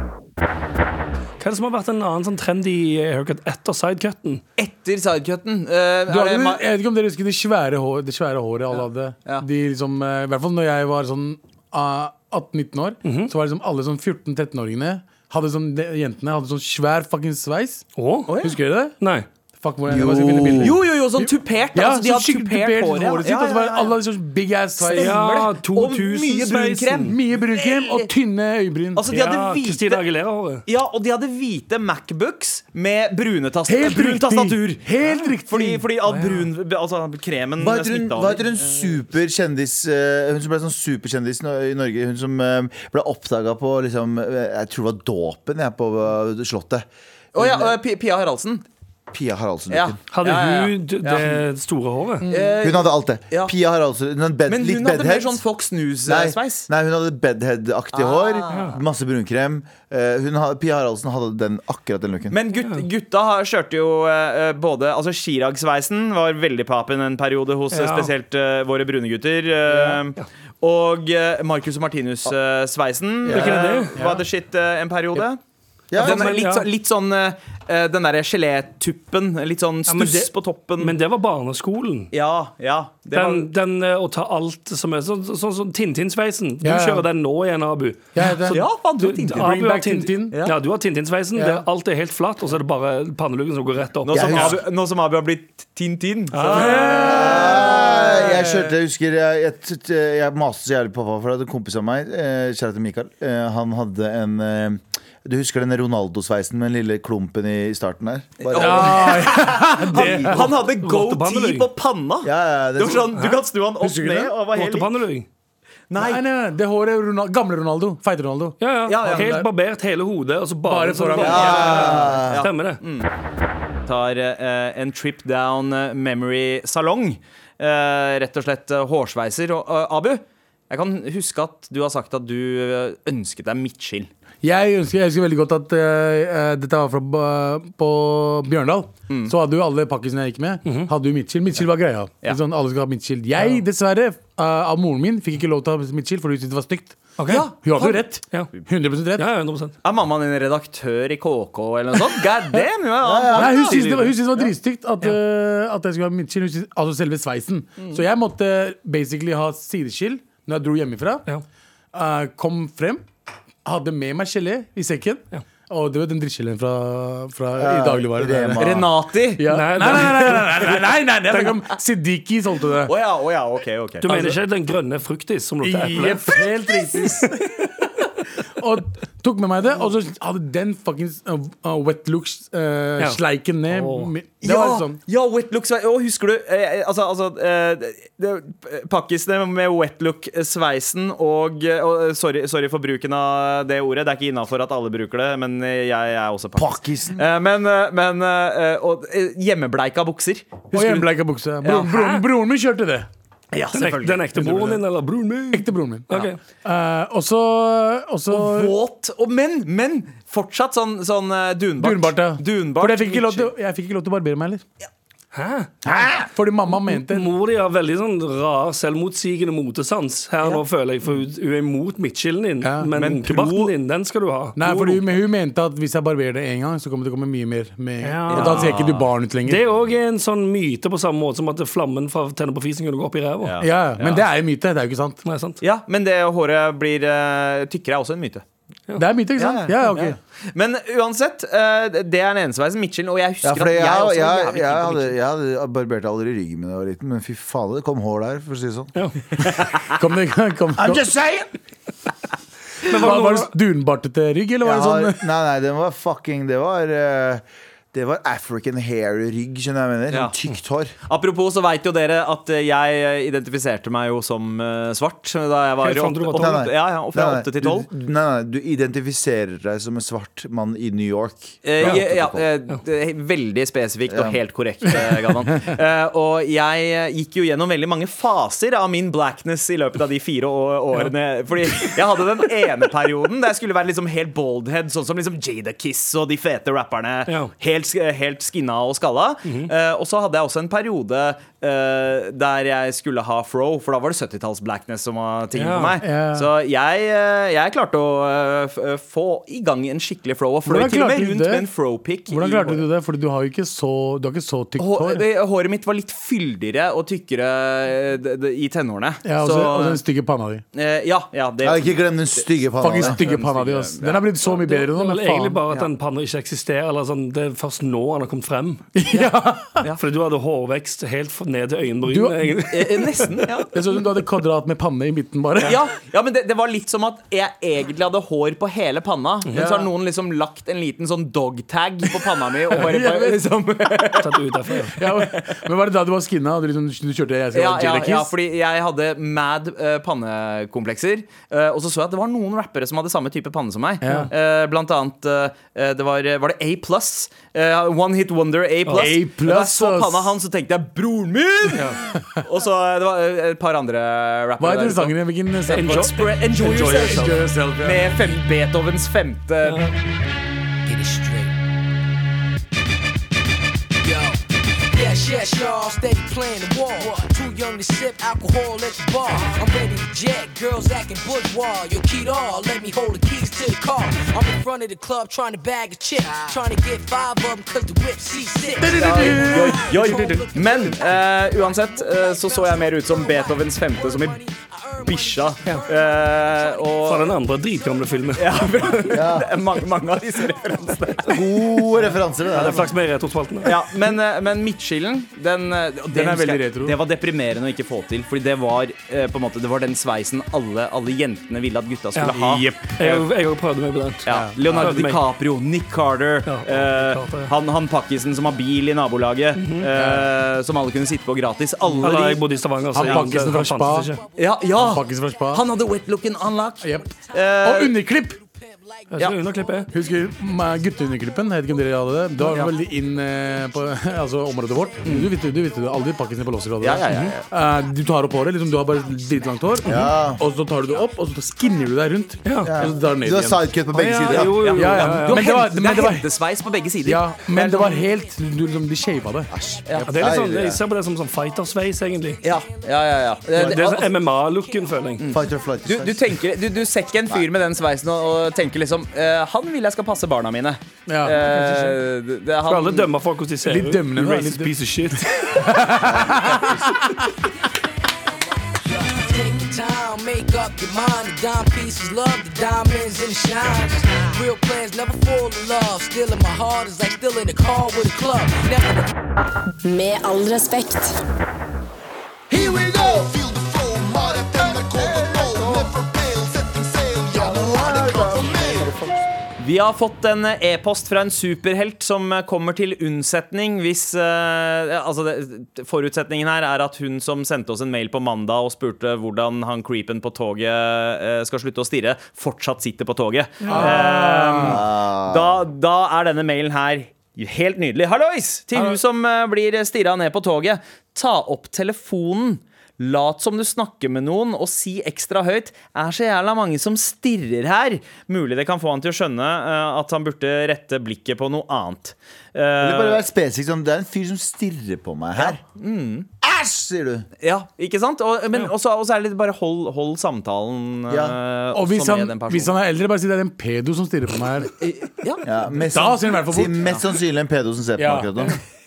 Hva er det som har vært en annen sånn trendy haircut etter sidecutten? Etter sidecutten. eh, er Du hadde, det Ma- jeg vet ikke om dere husker det svære, hår, det svære håret alle hadde. ja. De liksom, eh, I hvert fall når jeg var sånn ah, 18-19 år, Mhm. så var liksom alle sånn 14-13-åringene Hadde sånn, de, Jentene hadde sånn svær fuckings sveis. Å? Husker dere det? Nei. Fuck, hvordan jeg, jeg skal finne bilder. jo, jo, jo, sånn tupert. Ja, altså, de så har skikkelig tupert håret sitt, og så var det alle hadde sånn big ass sveis. Ja, Og mye 2000-sveisen. brunkrem. Mye brunkrem og tynne øyebryn. Altså, de Ja, hadde hvite Christina Aguilera-håret. Ja, og de hadde hvite Macbooks med brune tast Helt brun riktig. tastatur. Helt riktig. Fordi, fordi all brun, altså kremen Hva heter hun, smittet hva over. heter hun superkjendis eh, Hun som ble sånn superkjendis nå- i Norge? Hun som eh, ble oppdaga på liksom eh, Jeg tror det var dåpen jeg på eh, Slottet. Å ja, eh, Pi- Pia Haraldsen. Pia Haraldsen. Ja. Hadde Ja, ja, ja. hun d- det store håret? Mm. Eh, Hun hadde alt det. Ja. Pia Haraldsen. Hun hadde bed, Men litt hun hadde mer bedhead. sånn Fox Nei, News-sveis. nei, hun hadde bedhead-aktig hår. Ah. Masse brunkrem. Eh, hun, ha- Pia Haraldsen hadde den, akkurat den looken. Men gut, gutta har- kjørte jo eh, både Altså Chirag-sveisen var veldig papen en periode hos eh, Ja. spesielt eh, våre brune gutter. eh, Og eh, Marcus og Martinus-sveisen Hvilken er det? var the shit eh, en periode. Ja, Den er men- litt, ja. så- litt sånn eh, Den derre gelétuppen. Litt sånn men stuss det- på toppen. Men det var barneskolen. ja, ja. Det var, Den, den eh, å ta alt som er Sånn som sånn, sånn Tintin-sveisen. Du Ja, ja. kjører den nå igjen, Abu. Ja, det- ja, faen, du, Du, var Tintin. Abu Bring har back Tintin. Ja. du har Tintin-sveisen. der Alt er helt flatt, og så er det bare panneluggen som går rett opp. Nå som, Jeg Abu, husker- nå som Abu har blitt Tintin. så- Eh, Jeg kjørte, jeg husker Jeg, jeg, t- jeg maste så jævlig på pappa For jeg hadde en kompis av meg, eh, kjære til Mikael eh, Han hadde en eh, Du husker den Ronaldo-sveisen med den lille klumpen i i starten der? Bare, ja, han, han hadde goatee rottepannelugg. på panna! ja, Det var den, sånn, Du kan snu han opp Husker du ned. det? Og var helt lik. Rottepannelugg. Nei, Nei, nei, nei, det håret er Ronaldo, gamle Ronaldo. Feite Ronaldo. Ja, ja. Ja, ja. Helt barbert hele hodet, og så bare, Bare foran- sånn- Ja. Stemmer det. tar eh, en trip down eh, memory salong. Eh, rett og slett eh, hårsveiser. Og eh, Abu, jeg kan huske at du har sagt at du eh, ønsket deg midtskill. Jeg ønsker, jeg husker veldig godt at eh, eh, dette var fra ba- på Bjørndal. Mm. Så hadde jo alle pakkisene jeg gikk med, Mhm. hadde jo midtskill. Midtskill var greia. Ja. Sånn, alle skal ha midtskill. Jeg, dessverre, eh, av moren min, fikk ikke lov til å ha midtskill fordi hun syntes det var stygt. Ja, Hun hadde jo rett. Ja. 100 rett. Ja, 100 Er mammaen din redaktør i KK eller noe sånt? God damn! Ja, Nei, hun syntes det var, hun syntes det var dritstygt at, eh, at jeg skulle ha midtskill. Hun syntes- Altså selve sveisen. Mm. Så jeg måtte basically ha sideskill når jeg dro hjemmefra. Ja. Eh, kom frem, hadde med meg gelé i sekken. Ja. Og du vet den drittgeleen fra, fra i Ja, dagligvaren. Rema. Rema. Renati! Å Ja. Nei, Nei, nei, nei, nei, nei, nei, nei, nei, det er snakk om Siddiqui solgte det. ja, å ja, ok, ok. Du mener ikke den grønne fruktis som lukter eple? Jepp, helt riktig. og tok med meg det, og så hadde den fuckings uh, uh, wet looks uh, Ja. sleiken ned. Åh. med- Det Ja, var sånn. ja, wet look sveis. Og husker du eh, altså, altså, eh, det- Pakkisene med wet look-sveisen og, eh, og sorry, sorry for bruken av det ordet. Det er ikke innafor at alle bruker det, men jeg, jeg er også pakkis. Pakkisen Eh, men eh, men eh, og, eh, hjemmebleika bukser. Husker Og du? hjemmebleika bukse. Broren, broren, broren min kjørte det. Ja, Den ek- Den ekte broren din, eller broren min? Ekte broren min. Ok. Eh, og så og så Våt. Og men, men fortsatt sånn, sånn eh, dunbart. dunbart, ja. Dunbart, For jeg fikk ikke lov til, jeg fikk ikke lov til å barbere meg heller. Hæ? Fordi mamma mente Mor di har veldig sånn rar, selvmotsigende motesans her nå, føler jeg. For hun- hun er imot midtskillen din, Ja. men, Men pro- barten din, den skal du ha. Nei, Pro- for hun, hun mente at hvis jeg barberer det én gang, så kommer det til å komme mye mer. Med, Ja. Og da ser ikke du barn ut lenger. Det er òg en sånn myte, på samme måte som at flammen fra tenner på fisen kunne gå opp i Ja. ræva. Ja, men det er jo myte. Det er jo ikke sant. Nei, sant? Ja, men det håret blir eh, tykkere, er også en myte. Det er myte, ikke sant? Ja, ok Men uansett, eh, det er den ene sveisen. Mitchell. Og jeg ja, husker for jeg, at jeg også jeg, var jævlig jeg, keen på hadde, Mitchell. jeg hadde barbert aldri ryggen min da jeg var liten, men fy faen, det kom hår der, for å si det sånn. Ja. Kom, det, kom, kom. just saying! Men Var, var var det det dunbartete rygg, eller Jeg var har, det sånn nei, nei, det var fucking Det var, eh, det var African hair-rygg, skjønner jeg hva jeg mener. Ja. Sånn Tykt hår. Apropos så veit jo dere at eh, jeg identifiserte meg jo som eh, svart da jeg var Helt i fram til du var åtte- tolv. Nei, nei. Ja, ja, og fra Nei, nei, åtte til du- tolv. Nei, nei, du identifiserer deg som en svart mann i New York. Eh, Fra ja, åtte til ja, tolv. eh, det er veldig spesifikt Ja. og helt korrekt, eh, Galvan. Eh, og jeg eh, gikk jo gjennom veldig mange faser av min blackness i løpet av de fire å- årene. Fordi jeg hadde den ene perioden der jeg skulle være liksom helt baldhead, sånn som liksom Jada Kiss og de fete rapperne. Ja. Helt, sk- eh, helt skinna og skalla. Eh, og så hadde jeg også en periode eh, der jeg skulle ha fro, for da var det 70-talls blackness som var tingen Ja, for meg. ja. Så jeg, eh, jeg klarte å eh, f- eh, få i gang en skikkelig fro. Og fløy Hvordan til og med klarte du rundt det? med en fro-pick. Hvordan klarte du det? Fordi du har jo ikke så, du har ikke så tykt Hår, hår. eh, håret mitt var litt fyldigere og tykkere eh, d- d- i tenårene. Ja, og, så, og den stygge panna di. eh, ja, ja, det Ja, ikke glem den stygge panna. Fucking di. stygge panna di, ass. Den har blitt så mye bedre nå, Vel, men egentlig faen. bare at den panna ikke eksisterer. Eller sånn, det er først nå han har kommet frem. Fordi du hadde hårvekst helt f- ned til Du- øyenbrynene. egentlig. eh, eh, Nesten, ja. Det så ut som du hadde kvadrat med panne i midten, bare. Ja, ja men det, det var litt som at jeg egentlig hadde hår på hele panna, men så har noen liksom lagt en liten sånn dogtag på panna mi. Og bare, Ja, men- liksom, Tatt det ut derfra, ja. Ja, men var det da du var skinna? og Du, liksom, du kjørte jeg skal ja, være ja, Jadakiss? ja, fordi jeg hadde mad eh, pannekomplekser. eh, og så så jeg at det var noen rappere som hadde samme type panne som meg. Ja. Eh, blant annet eh, det var, var det A pluss? one Hit Wonder A pluss. A+, Da jeg så ass. panna hans, så tenkte jeg 'broren min'! og så eh, det var eh, et par andre rappere Hva heter der ute. sangen? Hvilken sang? Enjoy, Expre- enjoy, Enjoy yourself. Yourself. Yourself, ja. Med fem, Beethovens femte Get it straight. Yo. Yes, yes, y'all, steady playing the wall. Too young to sip alcohol at the bar. I'm ready to jet, girls acting bourgeois. Yo, key all, let me hold the keys to the car. I'm in front of the club trying to bag a chip. Trying to get five of them cause the whip C6. Men eh, uansett eh, så så jeg mer ut som Beethovens femte, som i bikkja. Eh, og Fra den andre dritgamle filmen. Ja, det er mange, mange av disse referansene. Gode referanser. Det Det der. er flaks med retrospaltene. Ja, men, eh, men midtskillen, den, eh, og det Den er husker veldig jeg, retro. Det var deprimerende å ikke få til, Fordi det var eh, på en måte Det var den sveisen alle, alle jentene ville at gutta skulle ha. Jeg òg prøvde meg på den. Ja. Leonardo Prøvde meg. DiCaprio, Nick Carter, Ja, eh, Nick Carter, ja. han, han pakkisen som har bil i nabolaget, eh, som alle kunne sitte på gratis. Alle Eller jeg de bodde i Stavanger. Han ja, bankes det- fra det fantes Spa. ikke. ja, ja. Faktisk fra Spa. Han hadde wetlook and unlock. Jep. Eh, Og underklipp! Jeg Ja. skal underklippe. Husker meg- gutteunderklippen? Jeg vet ikke om dere hadde det. Det var veldig inn eh, på altså, området vårt. Du visste du visste det. Alle de pakkisene på Losser Mm. hadde Ja, det. ja, ja, Eh, Du tar opp håret. Liksom, du har bare dritlangt hår. Mhm. Og så tar du det opp, og så skinner du deg rundt. Og så tar du ned Du har igjen. sidecut på begge sider. Ja, Ja. jo, jo, jo. Ja, ja, ja. Du Men det har var, hente- men det det er var, hentesveis på begge sider. ja, men det var helt du, liksom, De shava det. Ja, det er litt sånn, jeg ser på det som sånn fightersveis, egentlig. Ja, ja, ja, ja. Det er sånn MMA-looken, føler jeg. Fight or flight. Du, du, tenker, du, du ser ikke en fyr med den sveisen og, og tenker liksom eh, Han vil jeg skal passe barna mine. Ja. Eh, det, det, Skal alle han, dømme folk hvordan de ser Litt ut? dømmende, da. Racist Litt- piece of shit. Take your time, make up your mind. The dime pieces love the diamonds and the shines. Real plans never fall in love. Still in my heart is like still in the car with a club. Never Med all respekt. Here we go! Feel the flow, mud at NRK med roll. Never fail, setting sail, ja, nå er det klart for mer. vi har fått en eh, e-post fra en superhelt som eh, kommer til unnsetning hvis eh, Altså, det, forutsetningen her er at hun som sendte oss en mail på mandag og spurte hvordan han creepen på toget eh, skal slutte å stirre, fortsatt sitter på toget. Eh, da, da er denne mailen her helt nydelig. Hallois! Til hun som eh, blir stirra ned på toget. Ta opp telefonen. Lat som du snakker med noen, og si ekstra høyt. Er så jævla mange som stirrer her. Mulig det kan få han til å skjønne eh, at han burde rette blikket på noe annet. Eh, Det, bare være spesifikk, sånn, det er en fyr som stirrer på meg her. Æsj, sier du. ja, ikke sant? Og, men også, også er det bare hold, hold samtalen eh, Ja. også Og hvis han, med den personen. hvis han er eldre, bare si det er en pedo som stirrer på meg her. ja. Ja, mest, Da sier han i hvert fall si bort. mest sannsynlig en pedo som ser på Ja. meg akkurat nå.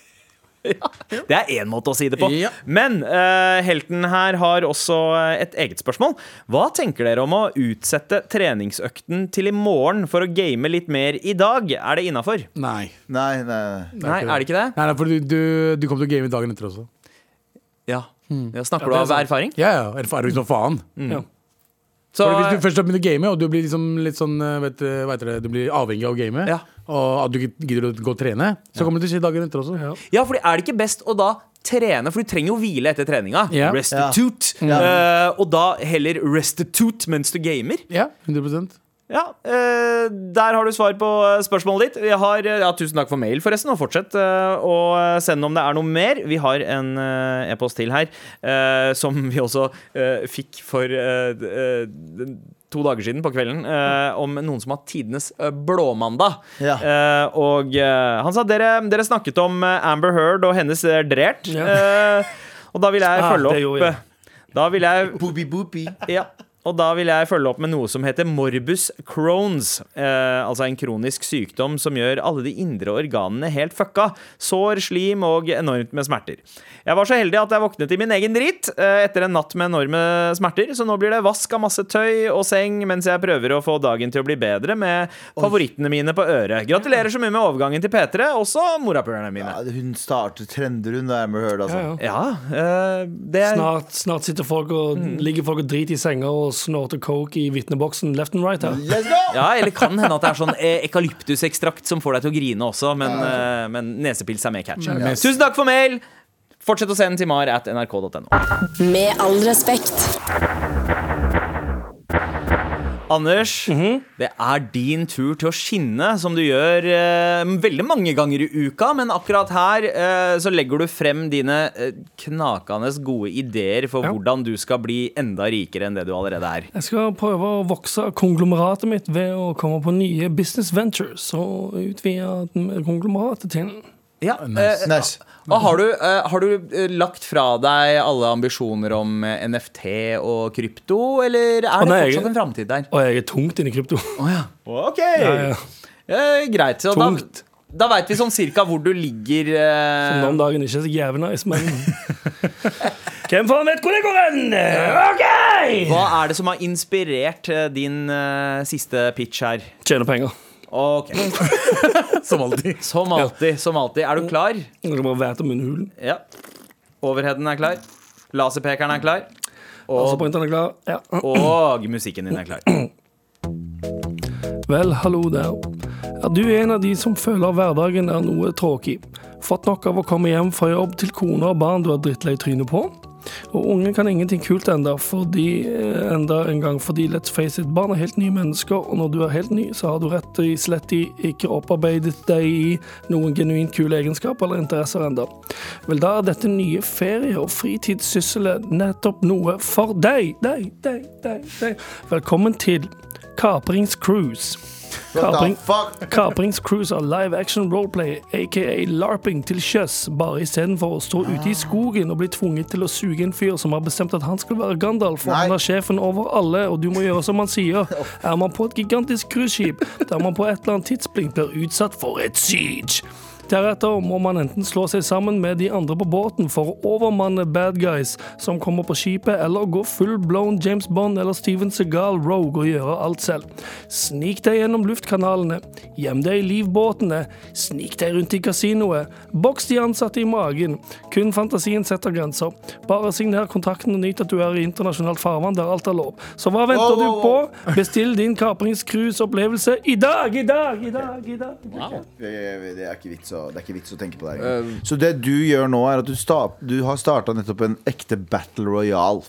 Det er én måte å si det på. Ja. Men eh, helten her har også eh, et eget spørsmål. Hva tenker dere om å utsette treningsøkten til i morgen for å game litt mer i dag? Er det innafor? Nei. Nei, nei, nei. Nei, er det ikke det? Nei, nei, for du, du, du kom til å game dagen etter også. Ja. ja Snakker Ja, det er du av sant. erfaring? Ja, ja. Erfaring som faen. Ja. Så, For hvis du først har begynt å game, og du blir liksom litt sånn eh, vet, eh, hva heter det, Du blir avhengig av å game, Ja. og at du ikke gidder å gå og trene, så kommer det til å skje dagen etter også. Ja, fordi er det ikke best å da trene, for du trenger jo hvile etter treninga. Ja. Restitute. Eh, og da heller restitute mens du gamer. Ja, 100 Ja, eh, Der har du svar på eh, spørsmålet ditt. Vi har, eh, ja, tusen takk for mail, forresten. Og fortsett eh, å sende om det er noe mer. Vi har en eh, e-post til her, eh, som vi også eh, fikk for eh, d- eh, d- To dager siden på kvelden eh, om noen som har tidenes eh, blåmandag. Ja. Eh, og eh, han sa dere, dere snakket om eh, Amber Heard og hennes eh, drert. Eh, og da vil jeg Ah, følge det opp gjorde jeg. eh, Da vil jeg Booby booby. ja. Og da vil jeg følge opp med noe som heter morbus crohns. Eh, altså en kronisk sykdom som gjør alle de indre organene helt fucka. Sår, slim og enormt med smerter. Jeg var så heldig at jeg våknet i min egen drit eh, etter en natt med enorme smerter, så nå blir det vask av masse tøy og seng mens jeg prøver å få dagen til å bli bedre med favorittene mine på øret. Gratulerer så mye med overgangen til P3, også morapulerne mine. Ja, hun starter trender, hun, da, Amber Heard, altså. Ja, ja. Ja, eh, det er Snart, snart sitter folk og ligger folk og driter i senga og snorter coke i vitneboksen left and right her. Let's go! Ja, eller kan hende at det er sånn eh, ekalyptusekstrakt som får deg til å grine også, men, eh, men nesepils er med catch. Tusen takk for mail! Fortsett å sende til mar at nrk.no. Med all respekt. Anders, det er din tur til å skinne, som du gjør eh, veldig mange ganger i uka. Men akkurat her eh, så legger du frem dine eh, knakende gode ideer for hvordan du skal bli enda rikere enn det du allerede er. Jeg skal prøve å vokse konglomeratet mitt ved å komme på nye business ventures og utvide konglomeratet til Ja, eh, Nice. Og har du, eh, har du eh, lagt fra deg alle ambisjoner om eh, NFT og krypto, eller er det nei, jeg- fortsatt en framtid der? Og jeg er tungt inne i krypto. Ok! Ja, ja. Eh, greit. Så da, Tungt. da veit vi sånn cirka hvor du ligger Som nå eh, om dagen ikke er så jævlig nice, men Hvem faen vet hvor det går hen? OK! Hva er det som har inspirert eh, din eh, siste pitch her? Tjene penger. Ok. Som alltid. Som alltid, som alltid. Er du klar? Jeg skal bare væte munnhulen. Ja. Overheaden er klar. Laserpekeren er klar. Og, Altså, pointene er klar. Ja. og musikken din er klar. Vel, hallo der. Er du en av de som føler hverdagen er noe tråkig? Fått nok av å komme hjem fra jobb til kone og barn du er drittlei trynet på? Og ungen kan ingenting kult enda, fordi, eh, enda en gang fordi let's face it, barn er helt nye mennesker, og når du er helt ny, så har du rett og slett i- ikke opparbeidet deg i noen genuint kule egenskaper eller interesser enda. Vel, da er dette nye ferie- og fritidssysselet nettopp noe for deg, deg, deg, deg, deg. Velkommen til Kapringscruise. What the Kapring, fuck? Kaprings Cruise er live action roleplay, aka larping til sjøs, bare istedenfor å stå ute i skogen og bli tvunget til å suge en fyr som har bestemt at han skal være Gandalf, og Nei. han er sjefen over alle, og du må gjøre som han sier. Er man på et gigantisk cruiseskip der man på et eller annet tidspunkt blir utsatt for et siege? Deretter må man enten slå seg sammen med de andre på båten for å overmanne bad guys som kommer på skipet, eller gå full blown James Bond eller Steven Segal Rogue og gjøre alt selv. Snik deg gjennom luftkanalene, gjem deg i livbåtene, snik deg rundt i kasinoet, boks de ansatte i magen. Kun fantasien setter grenser. Bare signer kontrakten og nyt at du er i internasjonalt farvann der alt er lov. Så hva venter du på? Bestill din kapringscruise-opplevelse i dag, i dag, i dag, i dag. Det det er ikke vits å, det er ikke vits å tenke på det. her. Eh, Så det du gjør nå, er at du, sta, du har starta nettopp en ekte battle royal.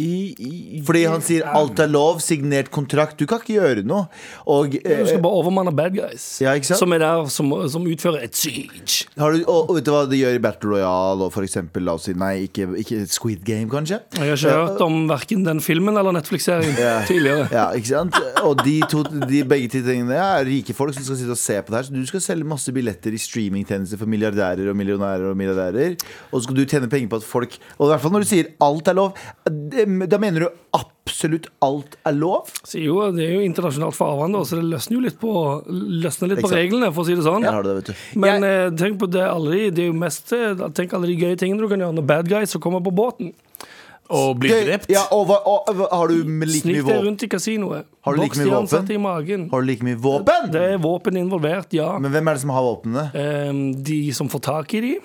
Fordi han sier 'alt er lov', signert kontrakt. Du kan ikke gjøre noe. Og, Du skal eh, bare overmanne bad guys. Ja, ikke sant? Som er der som, som utfører et siege. har du, og, og vet du hva de gjør i battle royal og for eksempel, la oss si nei, ikke, ikke Squid Game, kanskje? Jeg har ikke hørt om verken den filmen eller Netflix-serien tidligere. Ja, ikke sant? Og de to, de begge de tingene er rike folk som skal sitte og se på det her. Så du skal selge masse billetter i streamingtjenester for milliardærer og millionærer og milliardærer. Og så skal du tjene penger på at folk Og i hvert fall når du sier alt er lov, da mener du absolutt alt er lov? Så jo, det er jo internasjonalt farvann, da, så det løsner jo litt på, løsner litt Ikke på sant. reglene, for å si det sånn. Der har du det, vet du. Men eh, tenk på det alle de, det er jo mest eh, Tenk alle de gøye tingene du kan gjøre når bad guys som kommer på båten. Og blir drept. Ja, og, hva- og, hva- har du med like Snik mye deg våpen? rundt i kasinoet. Har du like Boks mye de våpen? ansatte i magen. Har du like mye våpen? Det er våpen involvert, ja. Men hvem er det som har våpnene? Eh, de som får tak i de,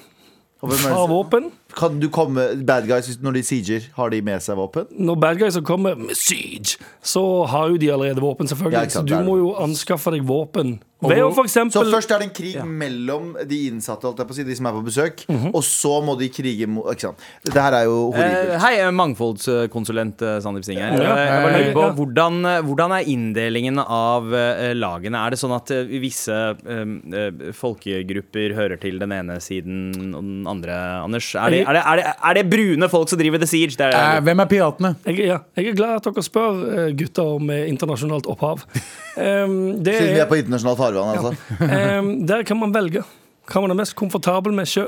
Og hvem er har det som, våpen. Kan du komme bad guys hvis- når de sieger? Har de med seg våpen? Når bad guys kommer med siege, så har jo de allerede våpen, selvfølgelig. Ja, ikke sant, så det er du må det. jo anskaffe deg våpen. Ved å for Så eksempel først er det en krig mellom de innsatte, holdt jeg på å si, de som er på besøk. Mhm. Og så må de krige mot Ikke sant. Dette her er jo Eh, horribelt. hei, mangfoldskonsulent eh, Sandeep Singh her. Eh, Jeg bare Hei. lurer på, Ja. hvordan, eh, hvordan er inndelingen av eh, lagene? Er det sånn at eh, visse eh, eh, folkegrupper hører til den ene siden og den andre, Anders? Er det, er det, er det, er det brune folk som driver The Siege? Det er, Eh, hvem er piratene? jeg, ja, jeg er glad at dere spør eh, gutter med internasjonalt opphav. Em, det Siden vi er er, på internasjonalt farvann, altså. em, der kan man velge hva man er mest komfortabel med sjøl.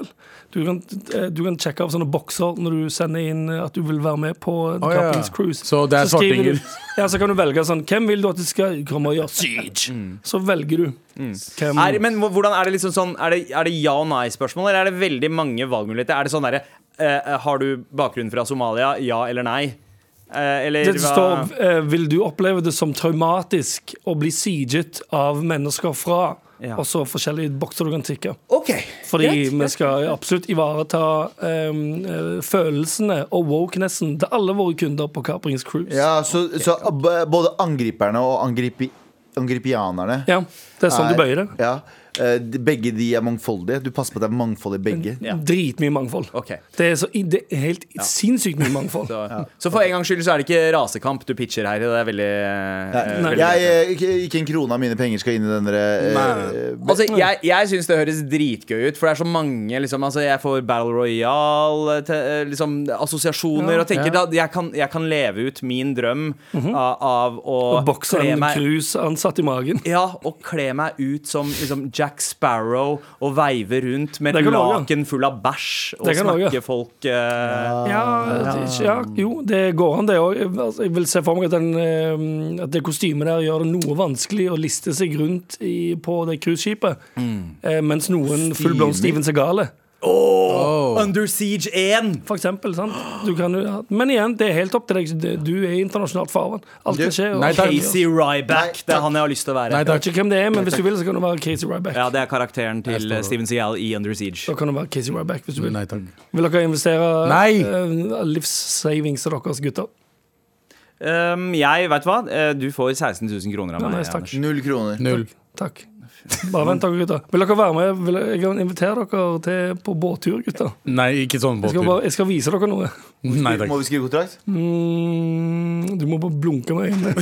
Du, kan- eh, du kan sjekke av sånne bokser når du sender inn eh, at du vil være med på Å, ja. Cappings Cruise. Så det er Så skriver svartingen. du- Ja, så kan du velge sånn Hvem vil du at de skal komme og gjøre siege? Mm. Så velger du. Hvem, er, men hvor- hvordan er det liksom sånn Er det, er det ja- og nei-spørsmål, eller er det veldig mange valgmuligheter? Er det sånn derre eh, Har du bakgrunn fra Somalia? Ja eller nei? Eh, eller Det hva- står eh, Vil du oppleve det som traumatisk å bli sieget av mennesker fra Ja. Og så forskjellige bokser du kan tikke. OK. Fordi greit, vi skal absolutt ivareta em, eh, følelsene og wokenessen til alle våre kunder på Caprings Cruise. Ja, så, så b- både angriperne og angripi, angripianerne Ja, det er sånn du bøyer det. Ja. Eh, de- Begge de er mangfoldige. Du passer på at det er mangfold i begge. Dritmye mangfold. Ok. Det er, så, i- det er helt sinnssykt mye mangfold. Så, så for en gangs skyld så er det ikke rasekamp du pitcher her. Det er veldig, eh, Nei. veldig Jeg, eh, ikke, ikke en krone av mine penger skal inn i den derre eh, Altså, jeg, jeg syns det høres dritgøy ut, for det er så mange liksom, altså, Jeg får Battle Royale, te, eh, liksom, assosiasjoner, og tenker da, jeg, kan, jeg kan leve ut min drøm av, av å Og bokser kle Mhm. en meg cruise ansatt i magen. ja, og kle meg ut som liksom, Jack Sparrow og veive rundt med Det et kan du også, laken full av bæsj og Det kan du også. snakke folk eh, Ja, det- ja, jo, det går an, det òg. Jeg vil se for meg at, den, eh, at det kostymet der gjør det noe vanskelig å liste seg rundt i, på det cruiseskipet. Eh, Mens noen fullblond Steven Segale, Under Siege 1! for eksempel. Sant? Du kan, jo- ja. Men igjen, det er helt opp til deg. Det- Du er i internasjonalt farvann. Alt kan skje. og- Nei, takk. Casey Ryback. Det er han jeg har lyst til å være. Nei, Jeg takk. vet ikke hvem det er, men hvis du vil, så kan du være Casey Ryback. Ja, det er karakteren til eh, Steven Seagal i Under Siege. Da kan du være Casey Ryback hvis du vil. Nei takk. Vil dere investere Nei. eh, livssavings til deres gutter? Um, jeg, vet du hva? Eh, Du får 16 000 kroner av Ja, meg. nice, takk. Anders. Null kroner. Null. Takk. Bare vent, dere gutter. Vil dere være med? Vil jeg, jeg kan invitere dere til, på båttur, gutter. Nei, ikke sånn Jeg skal, båttur. bare, jeg skal vise dere noe. Nei takk. Må vi skrive kontrakt? Mm, du må bare blunke med øynene.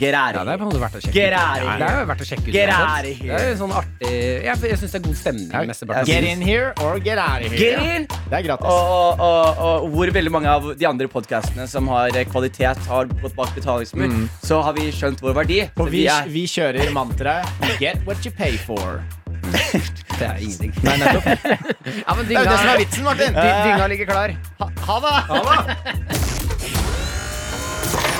get out of here. måte verdt å sjekke Get Det out of er here. jo verdt å sjekke ut. Get uansett. out of here. Det er jo sånn artig Jeg, jeg syns det er god stemning. Ja, mesteparten av jeg tiden. synes- here or get out of Get in! Det er gratis. Og, og, og, og hvor veldig mange av de andre podkastene som har eh, kvalitet, har gått bak betalingsmur, Mm. så har vi skjønt vår verdi. Så vi er kjører mantraet Get what you pay for. Det er ingenting. Nei, nettopp. ja, men dynga, vitsen, Martin. Eh, dy- dynga ligger klar. Ha det.